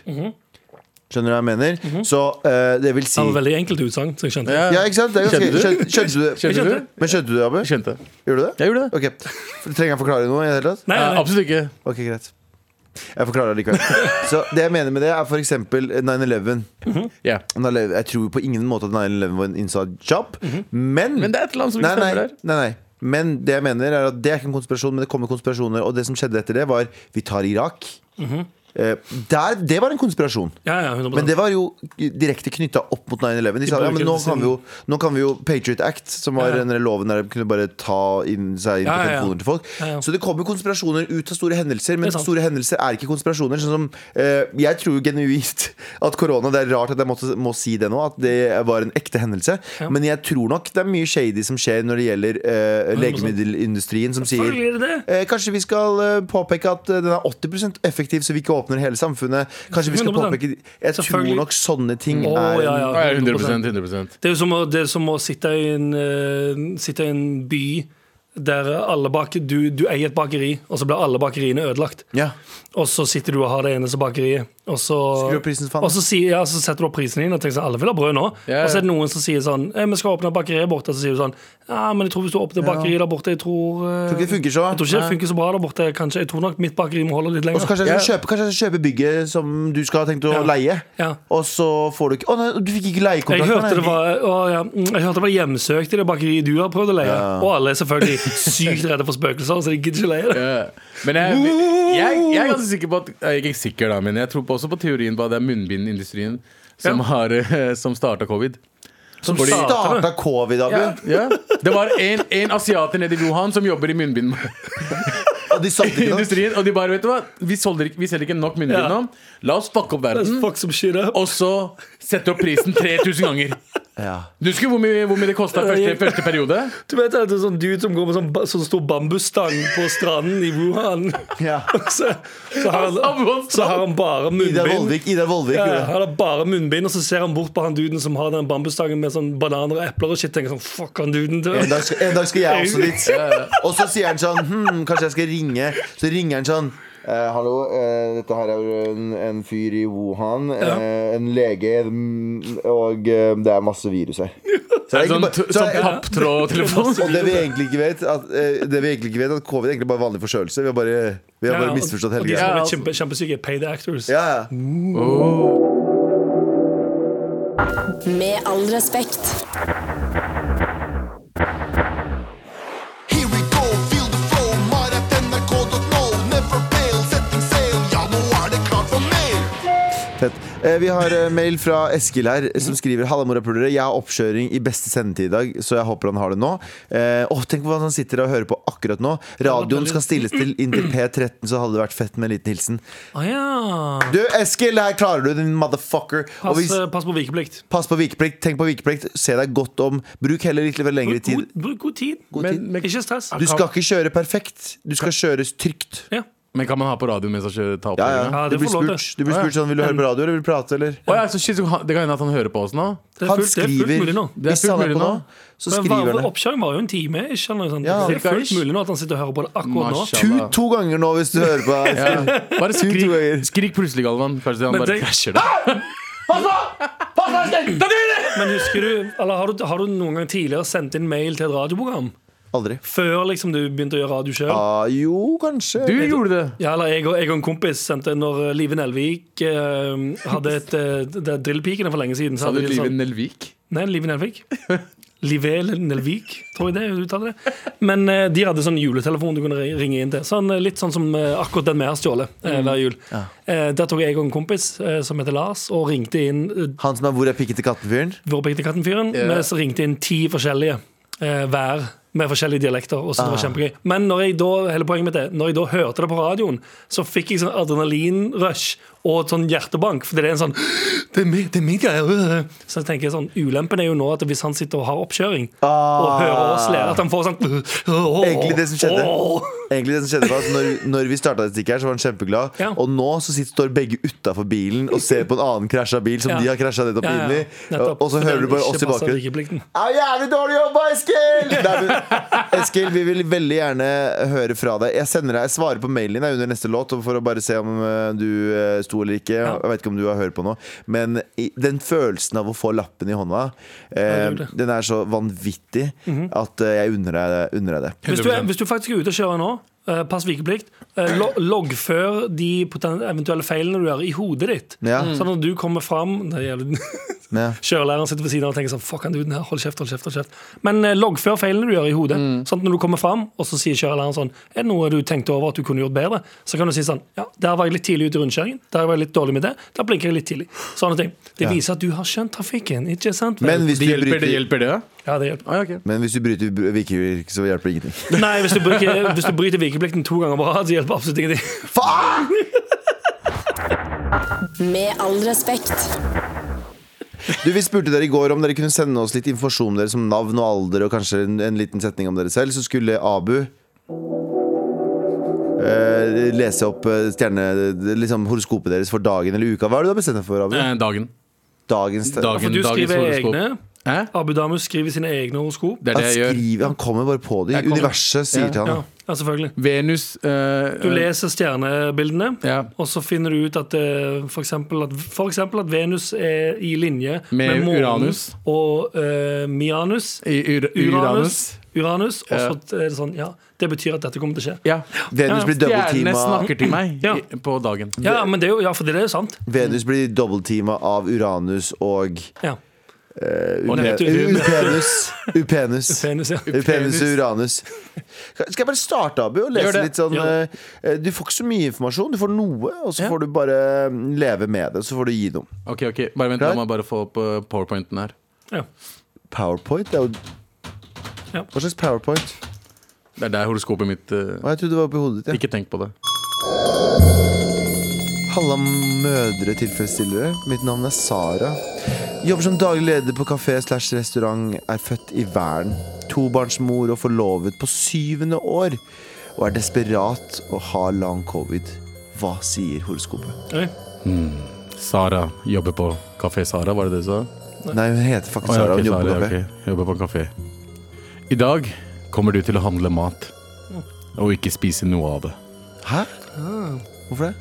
Speaker 2: Skjønner du hva jeg mener? Så eh, det vil si
Speaker 3: Det var veldig enkelt utsagn. så jeg skjønte
Speaker 2: Ja, ikke sant? Det er ganske,
Speaker 4: Skjønte
Speaker 2: skjønte, skjønte du det?
Speaker 4: Skjønte du?
Speaker 2: Men skjønte du det, Abu?
Speaker 4: Skjønte.
Speaker 2: Gjorde du det?
Speaker 4: Jeg gjorde det.
Speaker 2: Ok, Trenger jeg forklare noe? i det hele tatt?
Speaker 3: Nei,
Speaker 4: Eh,
Speaker 3: nei,
Speaker 4: absolutt ikke.
Speaker 2: Ok, greit Jeg forklarer det likevel Så det jeg mener med det er for eksempel 9-11
Speaker 4: Ja.
Speaker 2: 9/11 Jeg tror på ingen måte at 9-11 var en inside job Men
Speaker 4: Mhm. Men det er et eller annet som ikke
Speaker 2: Nei,
Speaker 4: stemmer
Speaker 2: nei,
Speaker 4: der.
Speaker 2: nei, nei. Men det jeg mener er at det er ikke en konspirasjon, men det kommer konspirasjoner. Og det som skjedde etter det, var vi tar Irak.
Speaker 4: Mhm.
Speaker 2: Eh, der, det var en konspirasjon.
Speaker 3: ja, ja, 100%.
Speaker 2: Men det var jo direkte knytta opp mot 9-11. De sa
Speaker 3: bruker
Speaker 2: ja, men
Speaker 3: det
Speaker 2: nå
Speaker 3: til
Speaker 2: kan,
Speaker 3: sin-
Speaker 2: vi jo, nå kan vi jo Patriot Act, som var
Speaker 3: Ja, ja.
Speaker 2: den der loven der de kunne bare ta inn seg inn på
Speaker 3: Ja, ja, ja.
Speaker 2: telefoner til folk.
Speaker 3: Ja, ja.
Speaker 2: Så det kommer konspirasjoner ut av store hendelser, men
Speaker 3: Det er sant.
Speaker 2: store hendelser er ikke konspirasjoner. Sånn som, eh, jeg tror jo genuint at korona Det er rart at jeg måtte, må si det nå, at det var en ekte hendelse.
Speaker 3: Ja.
Speaker 2: Men jeg tror nok det er mye shady som skjer når det gjelder eh,
Speaker 3: 100%.
Speaker 2: legemiddelindustrien, som sier
Speaker 3: Selvfølgelig er det det.
Speaker 2: Eh, Kanskje vi skal eh, påpeke at eh, den er 80 effektiv, så vi ikke åpner hele samfunnet. Kanskje vi skal
Speaker 3: 100%.
Speaker 2: påpeke Jeg tror
Speaker 3: Selvfølgelig.
Speaker 2: nok sånne ting
Speaker 3: Å,
Speaker 2: er
Speaker 3: ja,
Speaker 4: Ja,
Speaker 3: ja,
Speaker 4: 100 100
Speaker 3: Det er jo som å, det er som å sitte, i en, eh, sitte i en by der alle bak, du, du eier et bakeri, og så blir alle bakeriene ødelagt.
Speaker 2: Ja.
Speaker 3: Og så sitter du og har det eneste bakeriet, og så,
Speaker 2: Skrur opp prisen, faen.
Speaker 3: og så, sier, ja, så setter du opp prisen din og tenker sånn, alle vil ha brød nå.
Speaker 4: Ja, ja.
Speaker 3: Og så er det noen som sier sånn, eh, vi skal åpne bakeriet borte, og så sier du sånn, ja, men jeg tror hvis du åpner bakeriet der borte, jeg tror, eh,
Speaker 2: Tror ikke det funker så.
Speaker 3: jeg tror ikke det funker så bra der borte, kanskje, jeg tror nok mitt bakeri må holde litt
Speaker 2: Og så
Speaker 3: lenger.
Speaker 2: kanskje, jeg skal kjøpe, kanskje jeg skal kjøpe bygget som du skal ha tenkt å
Speaker 3: Ja.
Speaker 2: leie,
Speaker 3: Ja.
Speaker 2: og så får du ikke Å nei, du fikk ikke
Speaker 3: Jeg
Speaker 2: leiekontrakt.
Speaker 3: hørte,
Speaker 2: nei.
Speaker 3: det var, å, ja, mm, jeg hørte det var hjemsøkt i det bakeriet du har prøvd å leie. Og alle er selvfølgelig sykt redde for spøkelser, så de gidder ikke leie det.
Speaker 4: Eh, Men jeg, jeg, jeg er ganske sikker på at Jeg er ikke sikker da, men jeg tror på, også på teorien på at det er munnbindindustrien som,
Speaker 3: Ja.
Speaker 4: har, eh, som starta covid.
Speaker 3: Som
Speaker 2: Fordi
Speaker 3: starter det.
Speaker 2: starta covid, Abu.
Speaker 4: Ja. Det var en, en asiater nede i Wuhan som jobber i
Speaker 2: Og de satte ikke nok.
Speaker 4: munnbindindustrien. Og de bare, vet du hva, vi selger ikke, vi selger ikke nok munnbind
Speaker 3: Ja.
Speaker 4: nå. La oss fucke opp
Speaker 3: Let's
Speaker 4: verden,
Speaker 3: fuck some shit up.
Speaker 4: og så sette opp prisen 3000 ganger.
Speaker 2: Ja.
Speaker 4: Du husker hvor mye, hvor mye det kosta første, første periode?
Speaker 3: Du vet at det er sånn dude som går med sånn, ba- sånn stor bambusstang på stranden i Wuhan.
Speaker 2: Ja.
Speaker 3: Så, så, har han, så har han bare
Speaker 2: Idar
Speaker 3: munnbind.
Speaker 2: Vollvik. Idar Vollvik
Speaker 3: Ja,
Speaker 2: gjorde
Speaker 3: han
Speaker 2: det.
Speaker 3: har bare munnbind, og så ser han bort på han duden som har den bambusstangen med sånn bananer og epler og shit. Tenker sånn, fuck han duden
Speaker 2: En
Speaker 3: dør.
Speaker 2: dag, skal, en dag skal jeg også dit. Og så sier han sånn hm, Kanskje jeg skal ringe. Så ringer han sånn eh, hallo, eh, dette her er jo en, en fyr i Wuhan. eh, en lege. mm, Og eh, det er masse virus her. Så det er
Speaker 4: Sånn,
Speaker 2: egentlig
Speaker 4: t-
Speaker 2: bare- så
Speaker 4: sånn
Speaker 2: det er-
Speaker 4: papptrådtelefon.
Speaker 2: og det vi egentlig ikke vet, at, eh, det vi egentlig ikke vet er at covid er egentlig bare vanlig forkjølelse. Vi har bare, vi har
Speaker 3: Ja,
Speaker 2: bare
Speaker 3: og-
Speaker 2: misforstått
Speaker 3: og
Speaker 2: hele
Speaker 3: de som
Speaker 2: greia.
Speaker 3: er
Speaker 4: altså.
Speaker 3: kjempe, kjempesyke, er paid actors.
Speaker 2: Ja, ja.
Speaker 5: Med all respekt.
Speaker 8: Here we go, feel the flow, maratnrk.no. Never fail, setting sail. Ja, nå er det klart for mer.
Speaker 2: Fett. Eh, Vi har eh, mail fra Eskil her, som skriver Halla, morapulere. Jeg har oppkjøring i beste sendetid i dag, så jeg håper han har det nå. Eh, åh, tenk på hva han sitter og hører på akkurat nå. Radioen skal stilles til inntil P13, så hadde det vært fett med en liten hilsen.
Speaker 3: Å ja.
Speaker 2: Du, Eskil, det her klarer du, din motherfucker. Og
Speaker 3: Pass,
Speaker 2: hvis,
Speaker 3: eh, pass på vikeplikt.
Speaker 2: pass på vikeplikt. Tenk på vikeplikt. Se deg godt om. Bruk heller litt lengre tid.
Speaker 3: God, bruk god tid.
Speaker 4: Men, men,
Speaker 3: Ikke stress.
Speaker 2: Du skal ikke kjøre perfekt. Du skal kjøres trygt.
Speaker 3: Ja.
Speaker 4: men kan man ha på radio mens han kjører ta opp?
Speaker 2: Ja, ja.
Speaker 3: Ja,
Speaker 2: Du
Speaker 3: det
Speaker 2: blir
Speaker 3: får lov til.
Speaker 2: spurt, du blir spurt sånn Vil du høre på radio, eller vil du prate, eller?
Speaker 4: Å ja, så shit, så han- det kan hende at han hører på oss nå?
Speaker 3: Det er
Speaker 2: Han
Speaker 3: fullt, det er fullt
Speaker 2: skriver
Speaker 3: mulig nå.
Speaker 4: Det er
Speaker 2: Hvis han
Speaker 4: fullt
Speaker 2: er
Speaker 4: mulig
Speaker 2: på nå,
Speaker 4: nå.
Speaker 2: så
Speaker 3: Men
Speaker 2: skriver han
Speaker 3: var-
Speaker 2: det.
Speaker 3: Oppkjøringen var jo en time. Ikke sant? Sånn.
Speaker 2: Ja,
Speaker 3: det er fullt
Speaker 4: cirka-ish.
Speaker 3: mulig nå at han sitter og hører på det akkurat nå.
Speaker 2: To,
Speaker 4: Mashallah.
Speaker 2: to ganger nå hvis du hører på.
Speaker 4: Ja. Bare
Speaker 2: Tusen ganger.
Speaker 4: skrik, skrik plutselig, Galvan. Kanskje han
Speaker 3: Men
Speaker 4: bare
Speaker 3: det-
Speaker 4: krasjer det.
Speaker 3: Men husker du, eller har du, har du noen gang tidligere sendt inn mail til et radioprogram?
Speaker 2: Aldri.
Speaker 3: Før liksom du begynte å gjøre radio sjøl?
Speaker 2: Ah, jo, kanskje.
Speaker 4: Du gjorde det.
Speaker 3: Ja, eller jeg og, jeg og en kompis sendte når eh, Live Nelvik eh, hadde et eh, det er Drillpikene for lenge siden. Så
Speaker 4: Hadde
Speaker 3: hadde de
Speaker 4: livet
Speaker 3: sånn,
Speaker 4: Nelvik?
Speaker 3: nei, Live Nelvik. Live Nelvik, tror jeg det er, du uttaler det. Men eh, de hadde sånn juletelefon du kunne ri- ringe inn til. Sånn, eh, litt sånn som eh, akkurat den vi har stjålet eh, hver jul. Eh, der tok jeg og en kompis eh, som heter Lars, og ringte inn eh,
Speaker 2: Han som er hvor er pikken til katten-fyren?
Speaker 3: Vårpikk til katten-fyren.
Speaker 4: Ja.
Speaker 3: Vi ringte inn ti forskjellige eh, hver. Med forskjellige dialekter. Og så det var
Speaker 2: Ah.
Speaker 3: kjempegøy Men når jeg da hele poenget mitt er Når jeg da hørte det på radioen, så fikk jeg sånn adrenalinrush og sånn hjertebank. Fordi det er en sånn Det er min, det er min greie! øh». Så jeg tenker sånn Ulempen er jo nå at hvis han sitter og har oppkjøring, og hører oss le, at han får sånn
Speaker 2: Ah. Egentlig det som skjedde.
Speaker 3: «Åh».
Speaker 2: Egentlig det som skjedde var at når, når vi starta dette stikket, her, så var han kjempeglad.
Speaker 3: Ja.
Speaker 2: Og nå så sitter, står begge utafor bilen og ser på en annen krasja bil som
Speaker 3: Ja.
Speaker 2: de har krasja nettopp
Speaker 3: Ja, ja,
Speaker 2: inn i.
Speaker 3: nettopp.
Speaker 2: Og så
Speaker 3: For
Speaker 2: hører
Speaker 3: det
Speaker 2: du bare
Speaker 3: ikke
Speaker 2: oss i
Speaker 3: passer
Speaker 2: bakgrunnen.
Speaker 3: likeplikten.
Speaker 2: Au, jævlig dårlig jobba, Eskil! Nei, men, Eskil, vi vil veldig gjerne høre fra deg. Jeg sender deg, jeg svarer på mailen din jeg, under neste låt for å bare se om eh, du eh, forsto eller ikke. Jeg vet ikke om du har hørt på nå. Men i- den følelsen av å få lappen i hånda, eh,
Speaker 3: det er det.
Speaker 2: den er så vanvittig
Speaker 4: Mhm.
Speaker 2: at eh, jeg unner deg, unner deg det.
Speaker 3: Hvis du, er, hvis du faktisk er ute og kjører nå, eh, pass vikeplikt. eh, lo- Loggfør de poten- eventuelle feilene du gjør, i hodet ditt.
Speaker 2: Ja.
Speaker 3: Sånn at du kommer fram det gjelder-
Speaker 2: Ja.
Speaker 3: Kjørelæreren sitter ved siden av og tenker sånn Fuck, han duden her, hold kjeft, hold kjeft, hold kjeft. Men eh, loggfør feilene du gjør i hodet.
Speaker 2: Mm.
Speaker 3: Sånn at når du kommer fram, og så sier kjørelæreren sånn Er det noe du tenkte over at du kunne gjort bedre? Så kan du si sånn Ja, der var jeg litt tidlig ute i rundkjøringen. Der var jeg litt dårlig med det. Der blinker jeg litt tidlig. Sånne ting. Det viser at du har skjønt trafikken, ikke sant? vel?
Speaker 2: Men hvis
Speaker 4: Det
Speaker 2: du
Speaker 4: hjelper, det
Speaker 2: bryter,
Speaker 4: hjelper det?
Speaker 3: ja, det hjelper.
Speaker 4: Ah, ja, ok.
Speaker 2: men hvis du bryter vikevirk, så hjelper det ingenting.
Speaker 3: Nei, hvis du, bruker, hvis du bryter vikeplikten to ganger på rad, så hjelper absolutt ingenting.
Speaker 2: Faen!
Speaker 5: Med all respekt.
Speaker 2: Du, Vi spurte dere i går om dere kunne sende oss litt informasjon om dere som navn og alder og kanskje en, en liten setning om dere selv. Så skulle Abu eh, lese opp eh, stjerne, liksom horoskopet deres for dagen eller uka. Hva er det du har bestemt deg for, Abu?
Speaker 4: Eh, Dagen.
Speaker 2: Dagens te-
Speaker 4: Dagen,
Speaker 3: For du
Speaker 4: dagens
Speaker 3: skriver
Speaker 4: horoskop.
Speaker 3: egne.
Speaker 4: Hæ?
Speaker 3: Abu Damus skriver sine egne horoskop.
Speaker 4: Det er
Speaker 2: Han
Speaker 4: det jeg gjør.
Speaker 2: skriver, han kommer bare på det.
Speaker 4: Jeg kommer-
Speaker 2: Universet sier
Speaker 4: Ja.
Speaker 2: til
Speaker 3: Ja,
Speaker 2: han.
Speaker 3: ja selvfølgelig.
Speaker 4: Venus eh,
Speaker 3: Du leser stjernebildene,
Speaker 4: Ja.
Speaker 3: og så finner du ut at eh, for eksempel at, for eksempel at Venus er i linje
Speaker 4: Med
Speaker 3: månen
Speaker 4: Uranus.
Speaker 3: og eh, Mianus.
Speaker 4: i Ur Uranus.
Speaker 3: Uranus. Uranus. Og
Speaker 4: Ja.
Speaker 3: så er det sånn, ja, det betyr at dette kommer til å skje.
Speaker 4: Ja.
Speaker 2: Venus blir
Speaker 4: Stjernene
Speaker 2: dobbeltteama
Speaker 4: snakker til meg
Speaker 3: Ja.
Speaker 4: i, på dagen.
Speaker 3: Ja, men det er jo, ja, for det er jo sant.
Speaker 2: Venus blir dobbeltteama av Uranus og
Speaker 3: Ja.
Speaker 2: eh,
Speaker 3: Og
Speaker 2: Upe-
Speaker 3: Neptun.
Speaker 2: Upenus. Upenus.
Speaker 3: Venus, ja.
Speaker 2: Upenus og Uranus. Skal jeg bare starte, Abu, og lese
Speaker 4: Gjør det.
Speaker 2: litt sånn
Speaker 3: Gjør
Speaker 2: eh, Du får ikke så mye informasjon. Du får noe, og så får du bare mm, leve med det. Så får du gi noe.
Speaker 4: Ok, ok, bare vent,
Speaker 2: Klar?
Speaker 4: La meg bare få opp eh, powerpointen her.
Speaker 3: Ja.
Speaker 2: Powerpoint? Det er jo
Speaker 3: Ja.
Speaker 2: Hva slags powerpoint?
Speaker 4: Det er der horoskopet mitt eh,
Speaker 2: Å, jeg trodde det var oppi hodet ditt.
Speaker 4: Ikke tenk på det.
Speaker 2: Ja. Halla, mødre tilfredsstillere. Mitt navn er Sara. Jobber som daglig leder på kafé slash restaurant. Er født i Væren. Tobarnsmor og forlovet på syvende år. Og er desperat og har long covid. Hva sier horoskopet?
Speaker 3: Oi.
Speaker 4: Sara jobber på Kafé Sara, var det det du sa?
Speaker 2: Nei, hun heter faktisk
Speaker 4: Å,
Speaker 2: Sara.
Speaker 4: ja, ok,
Speaker 2: Hun jobber på
Speaker 4: Sara,
Speaker 2: kafé.
Speaker 4: ja, ok. Jobber på kafé. I dag kommer du til å handle mat,
Speaker 2: Mm.
Speaker 4: og ikke spise noe av det.
Speaker 2: Hæ? Hvorfor det?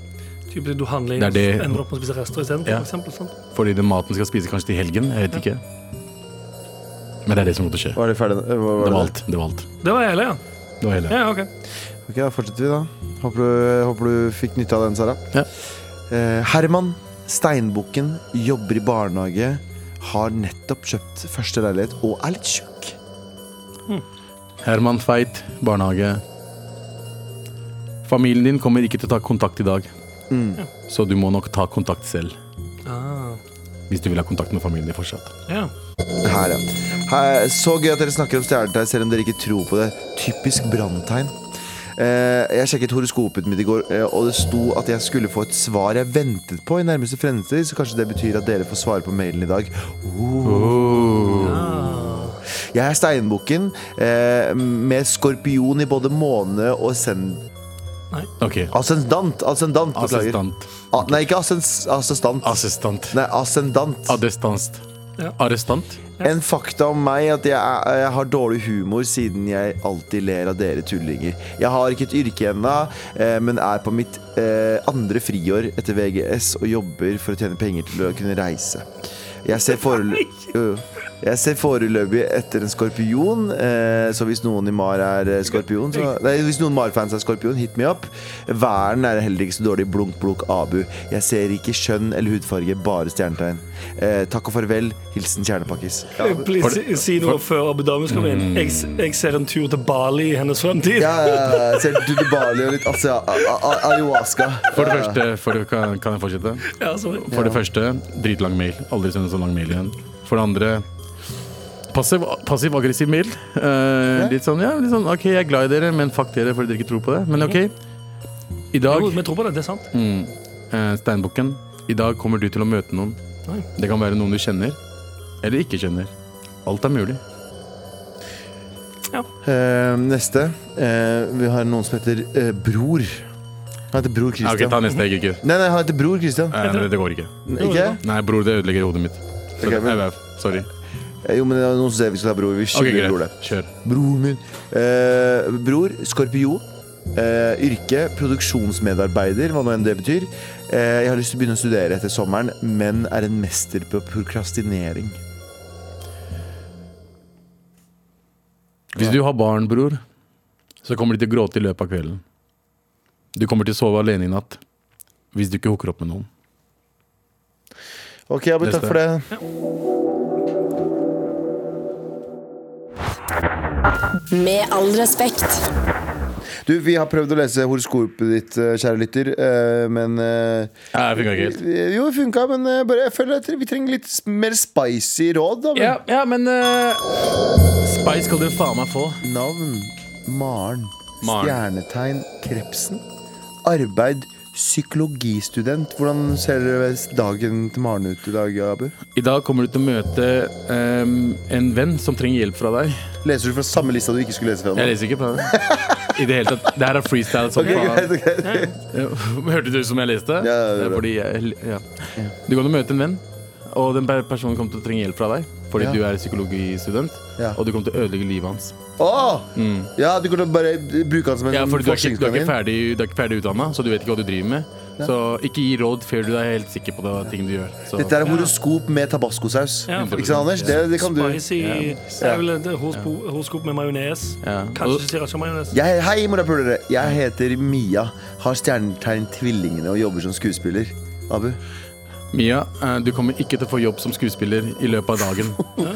Speaker 3: Typisk du handler inn
Speaker 4: Det er
Speaker 3: og
Speaker 4: det-
Speaker 3: ender opp med å spise rester isteden.
Speaker 4: Ja.
Speaker 3: for eksempel, sant?
Speaker 4: Fordi den maten skal spise kanskje til helgen, jeg vet ikke. Men det er det som kommer til å skje.
Speaker 2: Var det ferdig? Hva var
Speaker 4: Det
Speaker 2: det?
Speaker 4: var alt. Det var alt.
Speaker 3: Det var hele, ja.
Speaker 4: Det var hele.
Speaker 3: ja ok.
Speaker 2: Ok, da fortsetter vi da Håper du, håper du fikk nytte av den, Sara
Speaker 4: Ja.
Speaker 2: eh, Herman Steinbukken Jobber i barnehage Har nettopp kjøpt første leilighet Og er litt tjukk
Speaker 4: Herman Feit, barnehage. Familien din kommer ikke til å ta kontakt i dag,
Speaker 2: Mm.
Speaker 4: så du må nok ta kontakt selv.
Speaker 3: Ah,
Speaker 4: Hvis du vil ha kontakt med familien din fortsatt.
Speaker 3: ja.
Speaker 2: Her, ja Her, Så gøy at dere snakker om stjernetegn Selv om dere ikke tror på det Typisk brandtegn eh, Jeg sjekket horoskopet mitt i går eh, Og det sto at jeg skulle få et svar jeg ventet på I nærmeste fremtid Så kanskje det betyr at dere får svare på mailen i dag Oh.
Speaker 3: Ah.
Speaker 2: Jeg er steinbukken eh, med skorpion i både måne og sen...
Speaker 4: Ok.
Speaker 2: Ah, Ascendant! Ascendant, beklager.
Speaker 4: Assistant.
Speaker 2: A, nei, ikke assens, assistant.
Speaker 4: Assistant.
Speaker 2: nei, ascendant.
Speaker 4: Adestanst.
Speaker 3: Ja.
Speaker 4: Arrestant.
Speaker 2: En fakta om meg at jeg, er, jeg har dårlig humor siden jeg alltid ler av dere tullinger. Jeg har ikke et yrke ennå, eh, men er på mitt eh, andre friår etter VGS og jobber for å tjene penger til å kunne reise. Jeg ser, Øh. forelø- Jo, jeg ser foreløpig etter en skorpion, eh, så hvis noen i Mar er eh, skorpion så, Nei, hvis noen Mar-fans er skorpion, hit me up. Væren er heller ikke så dårlig. Blunk, blunk, abu. Jeg ser ikke kjønn eller hudfarge, bare stjernetegn. Eh, takk og farvel. Hilsen Kjernepakkis. Ja,
Speaker 3: Eh, Please, si- si noe før Abu Damus kommer inn. Jeg, s- jeg ser en tur til Bali i hennes fremtid.
Speaker 2: Mm. Ja, ja, ja. Jeg ser Dudu Bali og litt asia, a, a, a, ayahuasca.
Speaker 4: For det første, for det, kan, kan jeg fortsette?
Speaker 3: Ja, altså, sorry.
Speaker 4: For det første, dritlang mail. Aldri sende så lang mail igjen. For det andre, passiv- passiv-aggressiv mail. Eh, litt sånn ja, litt sånn OK, jeg er glad i dere, men fuck dere fordi dere ikke tror på det. Men OK. I dag,
Speaker 3: Jo, vi tror på det. Det er sant.
Speaker 4: mm, eh, Steinbukken, i dag kommer du til å møte noen.
Speaker 3: Oi.
Speaker 4: Det kan være noen du kjenner, eller ikke kjenner. Alt er mulig.
Speaker 2: Eh, neste. Eh, vi har noen som heter eh, Bror. Han heter Bror
Speaker 4: Ja, Ok,
Speaker 2: Christian.
Speaker 4: ta neste egg, ikke.
Speaker 2: Nei, nei, han heter Bror Christian.
Speaker 4: Eh, nei, det går ikke.
Speaker 2: Ikke?
Speaker 4: Nei, bror, det ødelegger hodet mitt. Så
Speaker 2: Ok,
Speaker 4: det-
Speaker 2: men-
Speaker 4: nei, nei, Sorry.
Speaker 2: Eh, Jo, men det var noen som sier vi skulle ha bror. Vi
Speaker 4: Ok,
Speaker 2: skylder bror det.
Speaker 4: greit. Kjør.
Speaker 2: Bror min. Eh, bror, skorpion. eh, yrke, produksjonsmedarbeider, hva nå enn det betyr. Eh, jeg har lyst til å begynne å studere etter sommeren, men er en mester på prokrastinering.
Speaker 4: Hvis du har barn, bror, så kommer de til å gråte i løpet av kvelden. Du kommer til å sove alene i natt hvis du ikke hooker opp med noen.
Speaker 2: Ok, Abu, takk
Speaker 4: Neste.
Speaker 2: for det.
Speaker 5: Med all respekt.
Speaker 2: Du, vi har prøvd å lese horoskopet ditt, eh, kjære lytter, eh, men eh,
Speaker 4: Ja, det funka ikke helt.
Speaker 2: eh, Jo, det funka, men eh, bare, jeg føler at vi trenger litt mer spicy råd. Da, men
Speaker 4: Ja, ja men eh, Spice skal du faen meg få.
Speaker 2: Navn Maren.
Speaker 4: Maren.
Speaker 2: Stjernetegn Krepsen. Arbeid psykologistudent. Hvordan ser dere dagen til Maren ut i dag, Abu?
Speaker 4: I dag kommer du til å møte ehm, en venn som trenger hjelp fra deg.
Speaker 2: Leser du fra samme lista du ikke skulle lese fra? nå?
Speaker 4: Jeg leser ikke på det. I det hele tatt. Det her er freestyle som
Speaker 2: Ok,
Speaker 4: faen.
Speaker 2: greit, greit.
Speaker 4: Ja, Hørte du som jeg leste?
Speaker 2: Ja, ja, ja.
Speaker 4: Det er fordi jeg, ja. Du kommer til å møte en venn, og den per- personen kommer til å trenge hjelp fra deg. Fordi
Speaker 2: Ja.
Speaker 4: du er psykologistudent,
Speaker 2: Ja.
Speaker 4: og du kommer til å ødelegge livet hans.
Speaker 2: Åh! Ja, du kunne bare bruke han som en
Speaker 4: Mm. Ja, fordi du er ikke, du er
Speaker 2: forskningskanin.
Speaker 4: ikke ferdig, du er ikke ferdig utdanna, så du vet ikke hva du driver med. Så ikke gi råd før du er helt sikker på det ting du gjør. Så.
Speaker 2: Dette er horoskop med tabascosaus.
Speaker 3: Ja.
Speaker 2: Ikke sant, Anders? Det, det kan du.
Speaker 3: Spicy Det er vel et horoskop horoskop med majones.
Speaker 4: Ja.
Speaker 3: Kanskje ikke sriracha-majones.
Speaker 2: Jeg, hei, morapulere. Jeg heter Mia, har stjernetegn Tvillingene og jobber som skuespiller. Abu.
Speaker 4: Mia, eh, du kommer ikke til å få jobb som skuespiller i løpet av dagen.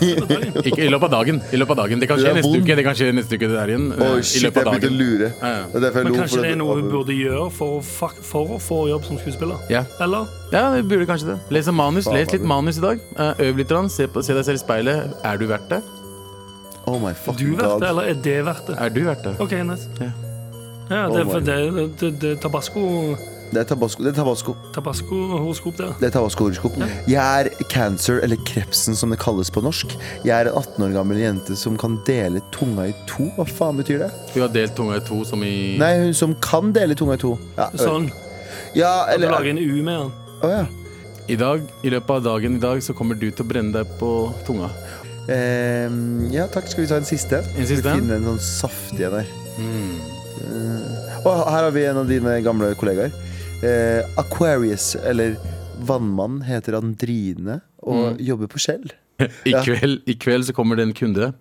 Speaker 4: Ikke, I løpet av dagen. I løpet av dagen. Det kan
Speaker 2: Det
Speaker 4: skje
Speaker 2: er
Speaker 4: neste
Speaker 2: vond.
Speaker 4: uke. Det kan skje neste uke det der igjen. eh,
Speaker 2: Oi,
Speaker 4: I
Speaker 2: shit, jeg
Speaker 4: løpet av
Speaker 2: begynte å
Speaker 4: dagen.
Speaker 2: lure.
Speaker 4: Ja, ja.
Speaker 2: Det er derfor jeg
Speaker 3: Men
Speaker 2: lo,
Speaker 3: kanskje
Speaker 2: for
Speaker 3: det
Speaker 2: at
Speaker 3: er noe hun
Speaker 2: Abu-
Speaker 3: burde gjøre for å, fuck, for å få jobb som skuespiller?
Speaker 4: Ja.
Speaker 3: Eller?
Speaker 4: ja, det burde kanskje det. Les en manus.
Speaker 2: Faen,
Speaker 4: Les litt
Speaker 2: Abu.
Speaker 4: manus i dag. Eh, Øv litt. grann. Se, på, se deg selv i speilet. Er du verdt det?
Speaker 2: Oh my
Speaker 3: Du
Speaker 2: fucking
Speaker 3: verdt
Speaker 2: god.
Speaker 3: det, eller er det verdt det?
Speaker 4: Er du verdt det?
Speaker 3: OK, nice.
Speaker 4: Ja.
Speaker 3: Ja, det,
Speaker 2: Oh
Speaker 3: er
Speaker 2: my
Speaker 3: for det, det, det er tabasco
Speaker 2: Det er tabasco. Det er tabasco.
Speaker 3: Tabasco-horoskop der.
Speaker 2: Det er tabasco-horoskop. Jeg er cancer, eller krepsen som det kalles på norsk. Jeg er en 18 år gammel jente som kan dele tunga i to. Hva faen betyr det?
Speaker 4: Du har delt tunga i to som
Speaker 3: Mm.
Speaker 4: i
Speaker 2: Nei, hun som kan dele tunga i to. Ja,
Speaker 3: Sånn.
Speaker 2: ja
Speaker 3: At du
Speaker 2: eller
Speaker 3: lager en U med den.
Speaker 2: Å, ja.
Speaker 4: I dag, i løpet av dagen i dag, så kommer du til å brenne deg på tunga.
Speaker 2: Ehm, ja, takk. Skal vi ta en siste?
Speaker 4: En siste?
Speaker 2: Skal vi finne en sånn saftig en her.
Speaker 3: Mm.
Speaker 2: Eh, og her har vi en av dine gamle kollegaer. Eh, Aquarius, eller Vannmann, heter Andrine
Speaker 3: Mm.
Speaker 2: og jobber på Skjell.
Speaker 4: I
Speaker 2: Ja.
Speaker 4: kveld, I kveld så kommer det en kunde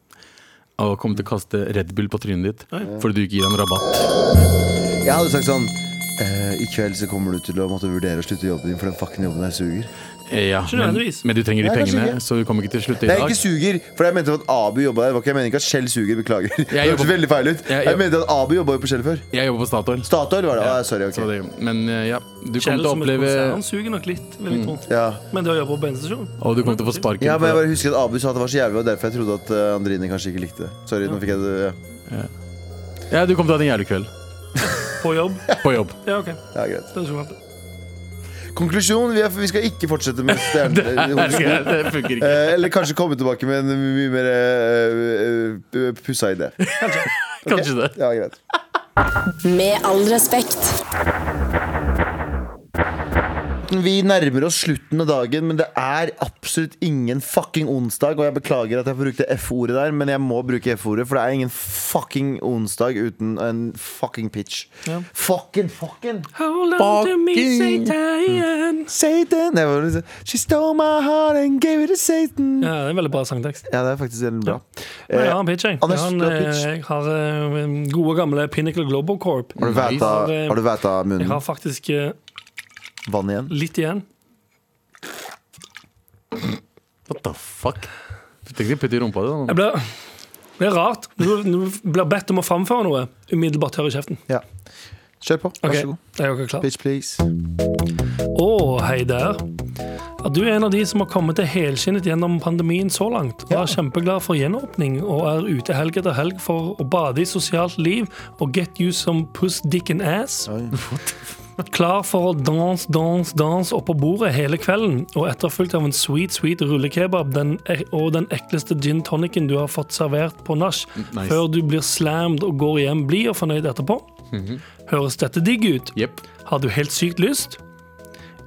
Speaker 4: og kommer til å kaste Red Bull på trynet ditt fordi du ikke gir ham rabatt.
Speaker 2: Jeg hadde sagt sånn eh, I kveld så kommer du til å måtte vurdere å slutte jobben din, for den fucking jobben der suger.
Speaker 4: Eh, Ja, men,
Speaker 3: nødvendigvis.
Speaker 4: men du trenger de
Speaker 2: Nei, kanskje
Speaker 4: pengene,
Speaker 2: ikke.
Speaker 4: så du kommer ikke til å slutte i
Speaker 2: Nei,
Speaker 4: dag.
Speaker 2: ikke suger, for jeg mente at Abu jobba der. Det var ikke- Jeg mener ikke at Skjell suger, beklager. Det hørtes
Speaker 4: jobber-
Speaker 2: veldig feil ut.
Speaker 4: Jeg
Speaker 2: Jeg,
Speaker 4: jobber-
Speaker 2: mente at Abu jobba jo på Skjell før.
Speaker 4: Jeg jobber på Statoil.
Speaker 2: Statoil var det.
Speaker 4: Ja,
Speaker 2: Ah, sorry.
Speaker 4: så
Speaker 2: ok
Speaker 4: det, men eh, ja, du kommer
Speaker 3: Kjell
Speaker 4: til å
Speaker 3: som et
Speaker 4: oppleve
Speaker 3: konsern suger nok litt, vil
Speaker 2: Mm.
Speaker 3: jeg tro.
Speaker 2: ja.
Speaker 3: Men det å jobbe på bensinstasjon
Speaker 4: Og du kommer til å få sparken.
Speaker 2: ja, men jeg
Speaker 4: for det.
Speaker 2: bare husker at Abu sa at det var så jævlig, og derfor jeg trodde at eh, Andrine kanskje ikke likte det. Sorry, nå fikk jeg det. Ja.
Speaker 4: Ja, du kommer til å ha en jævlig kveld
Speaker 3: på jobb.
Speaker 4: på jobb.
Speaker 3: Ja, OK.
Speaker 2: Ja, greit.
Speaker 3: Det er så sant.
Speaker 2: Konklusjon, vi, er, vi skal ikke fortsette med stjernehoroskop.
Speaker 4: det funker ikke.
Speaker 2: Eh, eller kanskje komme tilbake med en mye mer eh, eh, pussa idé.
Speaker 4: Kanskje det.
Speaker 2: Ja, greit.
Speaker 5: Med all respekt.
Speaker 2: Vi nærmer oss slutten av dagen, men det er absolutt ingen fucking onsdag. Og jeg beklager at jeg brukte F-ordet der, men jeg må bruke F-ordet. For det er ingen fucking onsdag uten en fucking pitch. Fucking, fucking
Speaker 3: Hold on to me,
Speaker 4: Fucking-
Speaker 3: Satan.
Speaker 2: Satan! Det var liksom, She stole my heart and gave it to Satan.
Speaker 3: Ja, det er en veldig bra sangtekst.
Speaker 2: Ja, det er faktisk veldig bra.
Speaker 3: Men jeg har
Speaker 2: Eh,
Speaker 3: en pitch, jeg.
Speaker 2: Anders,
Speaker 3: jeg har, en,
Speaker 2: du har pitch.
Speaker 3: eh, jeg har eh, en gode, gamle Pinnacle Global Corp.
Speaker 2: Eh, har du væta,
Speaker 3: Nice.
Speaker 2: har du væta
Speaker 3: Jeg
Speaker 2: munnen?
Speaker 3: har faktisk eh,
Speaker 2: Vann igjen?
Speaker 3: litt igjen.
Speaker 4: What the fuck? Du tenker å putte i rumpa di? da.
Speaker 3: Jeg blir, det er rart. Når du når du blir bedt om å framføre noe, umiddelbart tørr i kjeften.
Speaker 2: Ja. Kjør på. Vær
Speaker 3: Ok,
Speaker 2: så god.
Speaker 3: Er dere klare?
Speaker 2: Bitch, please.
Speaker 3: Å, hei der. Ja, Du er en av de som har kommet til helskinnet gjennom pandemien så langt, og er kjempeglad for gjenåpning og er ute helg etter helg for å bade i sosialt liv og get you some puss, dick and ass. Klar for å dans, dans, dans oppå bordet hele kvelden, og etterfulgt av en sweet, sweet rullekebab den, e- og den ekleste gin tonicen du har fått servert på nach,
Speaker 4: nice.
Speaker 3: før du blir slammed og går hjem blid og fornøyd etterpå. Høres dette digg ut?
Speaker 4: Jepp.
Speaker 3: Har du helt sykt lyst?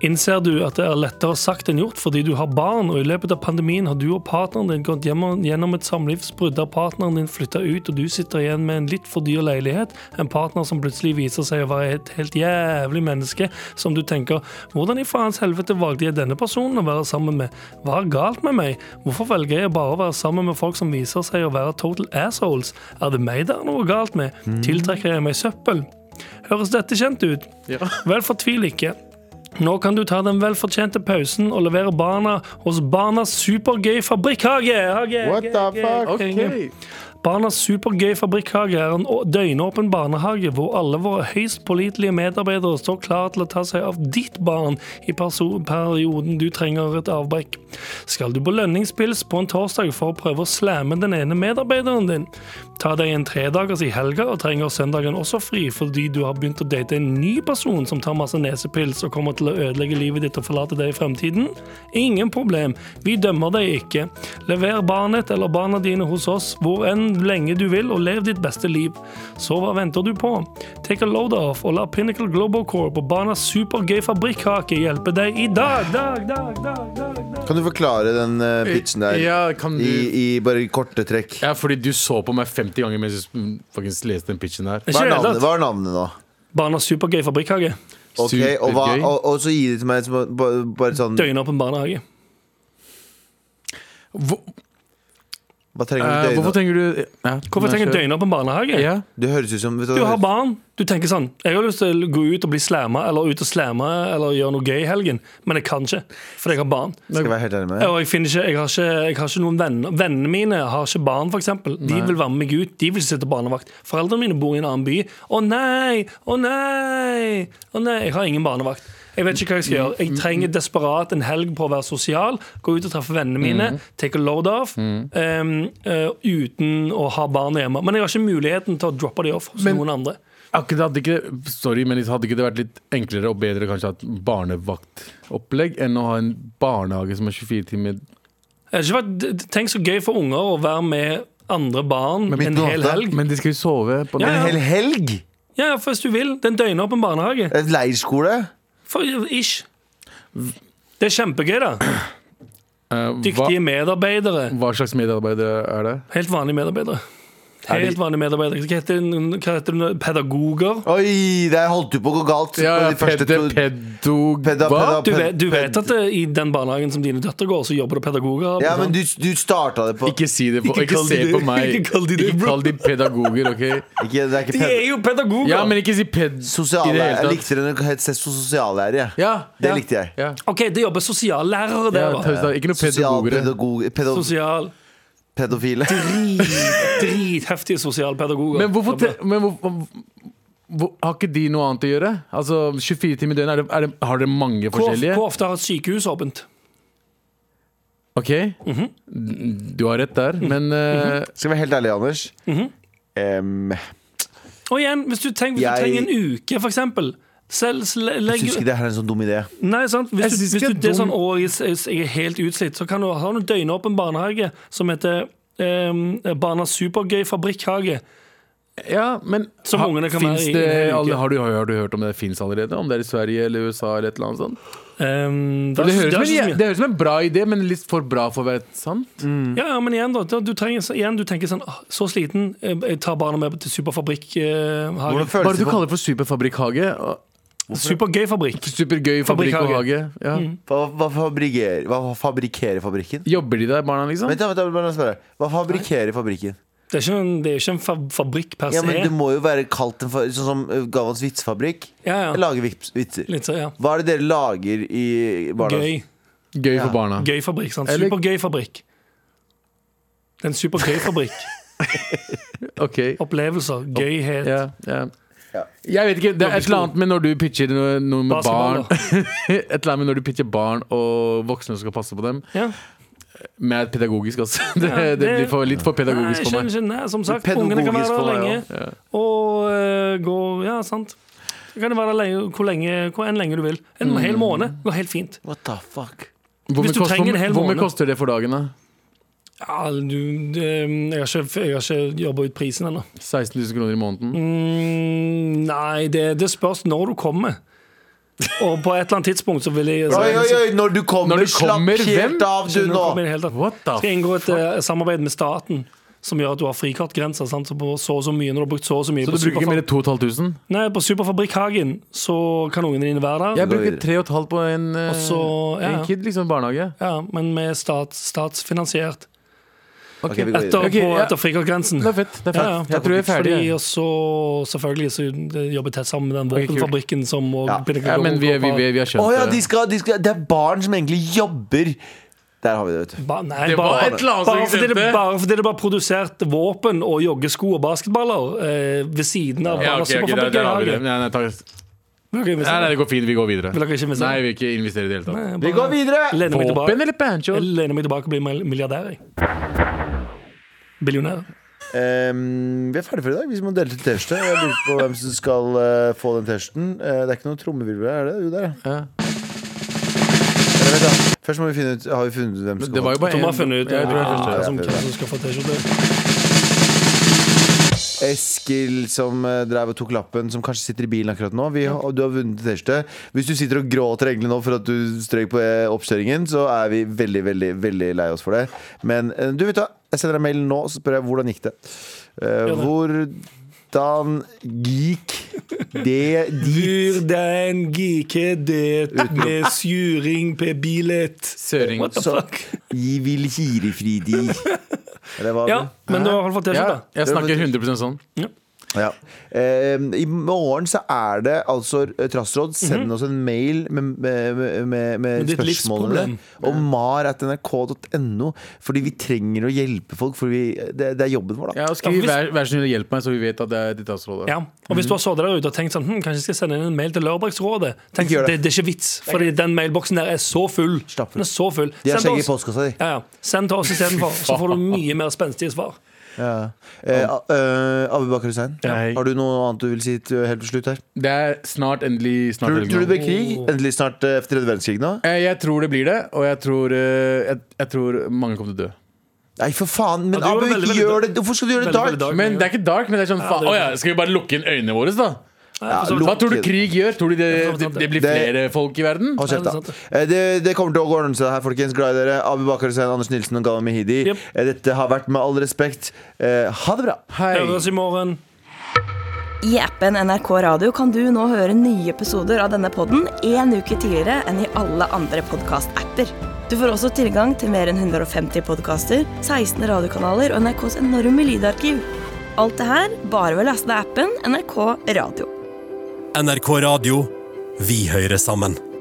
Speaker 3: Innser du at det er lettere sagt enn gjort fordi du har barn, og i løpet av pandemien har du og partneren din gått hjemme- gjennom et samlivsbrudd der partneren din flytta ut, og du sitter igjen med en litt for dyr leilighet, en partner som plutselig viser seg å være et helt jævlig menneske som du tenker 'Hvordan i faens helvete valgte jeg denne personen å være sammen med? Hva er galt med meg? Hvorfor velger jeg bare å være sammen med folk som viser seg å være total assholes? Er det meg det er noe galt med? Tiltrekker jeg meg søppel? Høres dette kjent ut? Vel, fortvil ikke. Nå kan du ta den velfortjente pausen og levere barna hos Barnas supergøy fabrikkhage. Hage,
Speaker 2: What the
Speaker 3: hage,
Speaker 2: fuck?
Speaker 3: hage. Barnas supergøy fabrikkhage er en å- døgnåpen barnehage hvor alle våre høyst pålitelige medarbeidere står klare til å ta seg av ditt barn i perso- perioden du trenger et avbrekk. Skal du på lønningspils på en torsdag for å prøve å slamme den ene medarbeideren din? Ta deg en tredagers i helga og trenger søndagen også fri fordi du har begynt å date en ny person som tar masse nesepils og kommer til å ødelegge livet ditt og forlate deg i fremtiden? Ingen problem, vi dømmer deg ikke. Lever barnet eller barna dine hos oss hvor enn lenge du vil, og lev ditt beste liv. Så hva venter du på? Take a load off og la Pinnacle Global Corp og barnas supergøy fabrikkake hjelpe deg i dag, dag, dag, dag, dag, dag.
Speaker 2: Kan du forklare den eh, pitchen der
Speaker 4: Ja, kan du-
Speaker 2: i, i bare korte trekk?
Speaker 4: Ja, fordi du så på meg 50 ganger mens jeg mm, faktisk leste den pitchen der.
Speaker 2: Hva
Speaker 3: Ikke
Speaker 2: er
Speaker 3: det hele
Speaker 2: navnet,
Speaker 3: tatt.
Speaker 2: hva er navnet nå?
Speaker 3: Barnas supergøy fabrikkake.
Speaker 2: Ok, og, hva,
Speaker 4: Supergøy.
Speaker 2: og, og så gi det til meg som, bare, bare
Speaker 4: Mm.
Speaker 2: sånn
Speaker 3: Døgnåpen barnehage.
Speaker 4: Hvor,
Speaker 2: Hva trenger
Speaker 4: eh,
Speaker 2: du til øynene?
Speaker 4: hvorfor trenger du ja,
Speaker 3: Hvorfor
Speaker 4: nei,
Speaker 3: trenger
Speaker 4: kjør.
Speaker 3: døgnåpen barnehage?
Speaker 4: Ja.
Speaker 2: Du høres ut som vet
Speaker 3: Du
Speaker 2: hva,
Speaker 3: har barn. Du tenker sånn Jeg har lyst til å gå ut og bli slamma eller ut og slamma eller gjøre noe gøy i helgen, men jeg kan ikke, for jeg har barn.
Speaker 2: Skal jeg være helt ærlig med deg?
Speaker 3: Og jeg, finner ikke, jeg, har ikke, jeg har ikke noen venner. Vennene mine har ikke barn, f.eks. De vil være med meg ut. De vil ikke sitte barnevakt. Foreldrene mine bor i en annen by. Å nei! Å nei! Å nei! Jeg har ingen barnevakt. Jeg vet ikke hva jeg skal gjøre. Jeg trenger desperat en helg på å være sosial. Gå ut og treffe vennene mine. Take a load off. ehm, eh, uten å ha barna hjemme. Men jeg har ikke muligheten til å droppe de off hos noen andre.
Speaker 4: Akkurat hadde ikke, sorry, men hadde ikke det vært litt enklere og bedre kanskje å ha et barnevaktopplegg enn å ha en barnehage som er 24 timer
Speaker 3: Det hadde ikke vært- Tenk så gøy for unger å være med andre barn
Speaker 2: midt
Speaker 3: en
Speaker 2: på
Speaker 3: hel
Speaker 2: natta.
Speaker 3: helg.
Speaker 4: Men de skal jo sove på
Speaker 3: Ja,
Speaker 2: En
Speaker 3: ja.
Speaker 2: hel helg?
Speaker 3: Ja, ja, for hvis du vil. Det er en døgnåpen barnehage.
Speaker 2: Et leirskole?
Speaker 3: For ish. Det er kjempegøy, da.
Speaker 4: Eh, hva,
Speaker 3: Dyktige medarbeidere.
Speaker 4: hva slags mediearbeidere er det?
Speaker 3: Helt vanlige medarbeidere.
Speaker 2: Er de-
Speaker 3: Helt vanlige medarbeidere. Hva heter, den- hva heter den? Pedagoger?
Speaker 2: Oi, der holdt du på å gå galt. på de første to-
Speaker 4: pedog...
Speaker 2: Peda- peda-
Speaker 4: hva?
Speaker 3: Du
Speaker 2: ped-
Speaker 3: vet, du vet
Speaker 2: ped-
Speaker 3: at det, i den barnehagen som dine døtre går, så jobber det pedagoger?
Speaker 2: Ja, men du, du starta det på
Speaker 4: liksom. Ikke si det på
Speaker 3: Ikke
Speaker 4: Ikke,
Speaker 3: kall
Speaker 4: se
Speaker 3: de det.
Speaker 4: på meg.
Speaker 3: Ikke kall de det,
Speaker 4: Ikke
Speaker 3: bro.
Speaker 4: kall de pedagoger, OK?
Speaker 2: Ikke- det er ikke
Speaker 3: De er
Speaker 2: ped
Speaker 3: jo pedagoger!
Speaker 4: Ja, men ikke si ped... i
Speaker 2: sosiale,
Speaker 4: det hele
Speaker 2: Jeg
Speaker 4: tatt.
Speaker 2: likte den het sosiallærer. jeg.
Speaker 4: Ja,
Speaker 2: Det
Speaker 4: ja,
Speaker 2: likte jeg.
Speaker 4: Ja.
Speaker 3: OK, det jobber sosiallærere
Speaker 4: Ja,
Speaker 3: der, da.
Speaker 4: ta- ta- ikke noe pedagoger.
Speaker 2: Sosialpedagog... Pedo,
Speaker 3: Sosial
Speaker 2: pedofile.
Speaker 3: Dritheftige sosialpedagoger.
Speaker 4: Men hvorfor te, men hvor, hvor, Har ikke de noe annet å gjøre? Altså, 24 timer i døgnet, er det, er det, har dere mange
Speaker 3: Hvor of-
Speaker 4: forskjellige?
Speaker 3: hvor ofte har et sykehus åpent?
Speaker 4: OK?
Speaker 3: Mhm.
Speaker 4: Du har rett der, men eh,
Speaker 2: Skal jeg være helt ærlig, Anders?
Speaker 4: Mhm.
Speaker 2: Em,
Speaker 3: Og igjen, hvis du, tenk, hvis
Speaker 2: Jeg-
Speaker 3: du trenger en uke, for eksempel. Selv, sle-
Speaker 2: jeg
Speaker 3: legg,
Speaker 2: syns ikke det her er en sånn dum idé.
Speaker 3: Nei, sant? Hvis,
Speaker 4: Jeg
Speaker 3: du,
Speaker 4: synes
Speaker 3: hvis
Speaker 4: ikke
Speaker 3: du, det er
Speaker 4: dum-
Speaker 3: sånn Å, jeg, jeg, jeg er helt utslitt, så kan du ha en døgnåpen barnehage som heter ehm, Barnas supergøy fabrikkhage.
Speaker 4: Ja, men
Speaker 3: Mhm. Som ungene kan
Speaker 4: finnes
Speaker 3: være i
Speaker 4: det,
Speaker 3: en hel uke.
Speaker 4: alle- har, du, har du hørt om det fins allerede? Om det er i Sverige eller USA eller et eller annet sånt?
Speaker 3: Ehm,
Speaker 4: Det,
Speaker 3: er ikke-
Speaker 4: høres
Speaker 3: er
Speaker 4: ut
Speaker 3: ikke så
Speaker 4: som en-
Speaker 3: mye. Mm.
Speaker 4: det høres ut som en bra idé, men litt for bra for å være sant.
Speaker 3: Ja, ja, men igjen, da. da- Du, trenger, så- igjen, du tenker sånn «Åh, Så sliten, eh, jeg tar barna med til
Speaker 2: Hvordan
Speaker 3: superfabrikkhage.
Speaker 2: føles
Speaker 4: Bare
Speaker 2: det
Speaker 4: du
Speaker 2: på,
Speaker 4: kaller det for superfabrikkhage. og-
Speaker 3: Supergøy fabrikk.
Speaker 4: Supergøy fabrikk og
Speaker 3: Fabrikkhage.
Speaker 4: hage. Ja.
Speaker 3: Mm.
Speaker 2: hva, hva, fabrikerer, hva fabrikerer fabrikken?
Speaker 4: Jobber de der, barna, liksom?
Speaker 2: Vent, da, vent, da, bare la meg spørre. Hva fabrikerer fabrikken?
Speaker 3: Det er ikke en, det er ikke en fa- fabrikk per se.
Speaker 2: Ja, men Det må jo være kalt en fa- sånn som uh, Gavans vitsefabrikk.
Speaker 3: Ja, ja.
Speaker 2: Jeg lager vips, vitser.
Speaker 3: Litt så, ja.
Speaker 2: Hva er det dere lager i barna?
Speaker 3: Gøy.
Speaker 4: Gøy for
Speaker 2: Ja.
Speaker 4: barna.
Speaker 3: Gøy fabrikk, sant?
Speaker 4: Eller-
Speaker 3: Supergøy fabrikk. Det er en supergøy fabrikk.
Speaker 4: Ok.
Speaker 3: Opplevelser, gøyhet.
Speaker 4: Ja, ja. Jeg vet ikke, Det er et eller annet med når du pitcher noe, noe med
Speaker 3: Basketball,
Speaker 4: barn Et eller annet med når du pitcher barn og voksne som skal passe på dem.
Speaker 3: Ja.
Speaker 4: Med pedagogisk også. Det,
Speaker 3: Ja,
Speaker 4: det
Speaker 3: det-
Speaker 4: blir for, litt for pedagogisk
Speaker 3: Nei,
Speaker 4: for
Speaker 3: skjønner
Speaker 4: meg.
Speaker 3: ikke. Nei, som sagt,
Speaker 2: Pedagogisk
Speaker 3: ungene kan være
Speaker 2: for
Speaker 3: der
Speaker 2: meg,
Speaker 3: lenge. Og øh, gå Ja, sant. Så kan det være der lenge, hvor, lenge, hvor enn lenge du vil. En
Speaker 4: Mm.
Speaker 3: hel måned går helt fint.
Speaker 2: What the fuck?
Speaker 4: Hvor
Speaker 3: Hvis du
Speaker 4: mye kost-
Speaker 3: trenger en hel
Speaker 4: hvor mye
Speaker 3: måned.
Speaker 4: koster det for dagen, da?
Speaker 3: Ja, du, det, mm, jeg har ikke, jeg har ikke jobba ut prisen ennå.
Speaker 4: 16 000 kroner i måneden?
Speaker 3: Mm, nei, det, det spørs når du kommer. Og på et eller annet tidspunkt så vil jeg
Speaker 2: Oi, oi, oi, når du kommer,
Speaker 4: Når du kommer,
Speaker 2: slapp helt
Speaker 4: hvem?
Speaker 2: av, du
Speaker 3: Skjønner
Speaker 2: nå!
Speaker 3: ikke hva jeg mener i det hele tatt.
Speaker 4: What the
Speaker 3: Skal jeg inngå et eh, samarbeid med staten som gjør at du har frikortgrenser sant? Så på så og så mye når du har brukt så og så mye
Speaker 4: Så
Speaker 3: på
Speaker 4: du bruker ikke
Speaker 3: Superfab-
Speaker 4: mer enn 2500?
Speaker 3: Nei, på Superfabrikkhagen så kan ungene dine være der.
Speaker 4: Jeg bruker 3500 på en, eh,
Speaker 3: så- ja, ja.
Speaker 4: en kid, liksom, barnehage.
Speaker 3: Ja, men med stat, statsfinansiert.
Speaker 2: Ok, vi går
Speaker 3: Etter,
Speaker 2: videre.
Speaker 4: Ok,
Speaker 3: på,
Speaker 4: ja.
Speaker 3: etter frikortgrensen.
Speaker 4: Det er fett. det er fett
Speaker 3: Ja, ja.
Speaker 4: Jeg tror jeg er ferdig.
Speaker 3: Fordi
Speaker 4: jeg.
Speaker 3: også, selvfølgelig så jobber tett sammen med den
Speaker 4: Ok, kult.
Speaker 3: våpenfabrikken som og
Speaker 2: Ja.
Speaker 4: Ja, men vi, vi, vi, vi har
Speaker 2: Å
Speaker 4: skjønt
Speaker 2: ja, de
Speaker 4: det.
Speaker 2: skal, de skal, det er barn som egentlig jobber Der har vi det, vet du.
Speaker 3: Ba, nei,
Speaker 4: Det var
Speaker 3: bare,
Speaker 4: et eller annet som
Speaker 3: bare, fordi det,
Speaker 4: stemte.
Speaker 3: bare fordi det var produsert våpen og joggesko og basketballer eh, ved siden av ja,
Speaker 4: Ja, ok, ok, der, der har vi det.
Speaker 3: Superfabrikken.
Speaker 4: Nei, nei, takk.
Speaker 3: Vil
Speaker 4: nei, nei,
Speaker 3: dere
Speaker 4: det går fint. Vi går videre.
Speaker 3: vil dere ikke miste
Speaker 4: Nei, vi vil ikke investere i det hele tatt.
Speaker 2: Vi går videre!
Speaker 3: Lener meg
Speaker 4: Våpen
Speaker 3: tilbake,
Speaker 4: eller pancho?
Speaker 3: jeg lener meg tilbake og blir mil- milliardær, jeg. Billionær.
Speaker 2: Ehm, vi er ferdige for i dag. Vi må dele til T-skjorte. Jeg lurer på hvem som skal eh, få den T-skjorten. Eh, det er ikke noe trommevirvel, er det? Jo, der, ja.
Speaker 4: Ja.
Speaker 2: Eller vent, da. Først må vi finne ut Har vi funnet ut hvem som
Speaker 4: Det
Speaker 2: skal
Speaker 4: var
Speaker 2: få
Speaker 4: jo bare
Speaker 3: Tom har
Speaker 4: en
Speaker 3: funnet ut
Speaker 4: Ja, jeg tror jeg
Speaker 3: eh,
Speaker 4: skjønte det.
Speaker 2: det.
Speaker 3: som, hvem som skal få T-skjorte.
Speaker 2: Eskil som eh, drev og tok lappen, som kanskje sitter i bilen akkurat nå. Vi, har- Du har vunnet T-skjorte. Hvis du sitter og gråter egentlig nå for at du strøk på eh, oppkjøringen, så er vi veldig, veldig veldig lei oss for det. Men eh, du vet da, jeg sender deg mail nå og spør jeg hvordan gikk det. Eh,
Speaker 3: det.
Speaker 2: Hvordan gikk det dit?
Speaker 3: Hvordan gikk det med suring på bilet?
Speaker 4: Søring.
Speaker 3: What the
Speaker 2: Så
Speaker 3: fuck?
Speaker 2: gi vil kirefridi. Eller hva?
Speaker 3: Ja, men du har i hvert fall
Speaker 4: Ja,
Speaker 3: T-skjorte.
Speaker 4: jeg snakker 100 sånn.
Speaker 2: Ja. Eh, I morgen så er det altså eh, Trassråd. Send
Speaker 3: Mhm.
Speaker 2: oss en mail med, med, med, med, med
Speaker 3: ditt
Speaker 2: spørsmålene.
Speaker 3: livsproblem.
Speaker 2: Og mar.nrk.no. Fordi vi trenger å hjelpe folk. For vi, det, det er jobben vår, da.
Speaker 4: Ja, og skriv
Speaker 3: Ja, hvis-
Speaker 4: vær, 'vær så snill, hjelp meg', så vi vet at det er ditt avsråd.
Speaker 3: Ja. Og hvis du har sittet der ute og tenkt sånn, hm, kanskje jeg skal sende inn en mail til Lørdagsrådet Tenk,
Speaker 2: Ikke gjør
Speaker 3: det.
Speaker 2: det.
Speaker 3: Det, er ikke vits, fordi den mailboksen der er så full.
Speaker 2: Stappfull.
Speaker 3: Den er så full.
Speaker 2: De har
Speaker 3: Send
Speaker 2: skjegg i
Speaker 3: til oss.
Speaker 2: postkassa di.
Speaker 3: Ja, ja. Send til oss istedenfor, så får du mye mer spenstige svar.
Speaker 2: Ja. Eh, a- eh, Abu Bakar Hussein,
Speaker 4: Hei.
Speaker 2: har du noe annet du vil si til, helt til slutt her?
Speaker 4: Det er snart endelig snart
Speaker 2: Tror,
Speaker 4: helgen.
Speaker 2: tror du det blir krig?
Speaker 3: Oh.
Speaker 2: Endelig snart eh, etter tredje verdenskrig nå?
Speaker 4: Eh, Jeg tror det blir det, og jeg tror, eh, jeg, jeg tror mange kommer til å dø.
Speaker 2: Nei, for faen! Men
Speaker 3: Ja, du
Speaker 2: Abu,
Speaker 3: gjorde
Speaker 2: ikke
Speaker 3: veldig, veldig
Speaker 2: gjør det! Hvorfor skal du gjøre det
Speaker 3: Veldig, veldig
Speaker 2: dark?
Speaker 3: dark.
Speaker 4: Men det er ikke dark, men det er sånn faen.
Speaker 3: det er-
Speaker 4: Å ja, skal vi bare lukke inn øynene våre, da?
Speaker 2: Ja,
Speaker 3: Altså,
Speaker 4: Hva
Speaker 2: lukk
Speaker 4: tror du
Speaker 2: det.
Speaker 4: krig gjør? Tror du det, det, det blir
Speaker 2: Det-
Speaker 4: flere folk i verden?
Speaker 2: Hold kjeft,
Speaker 3: Nei, det er
Speaker 2: da. Eh, Det, det kommer til å gå ordentlig her, folkens. Glad i dere. Abu Bakar Hussein, Anders Nilsen og Gala Mehidi.
Speaker 3: Jep.
Speaker 2: Eh, Dette har vært Med all respekt. Eh, Ha det bra.
Speaker 4: Hei.
Speaker 3: Høres i morgen.
Speaker 9: I appen NRK Radio kan du nå høre nye episoder av denne podden en uke tidligere enn i alle andre podcast-apper. Du får også tilgang til mer enn 150 podcaster, 16 radiokanaler og NRKs enorme lydarkiv. Alt det her bare ved å laste ned appen NRK Radio.
Speaker 10: NRK Radio. Vi hører sammen.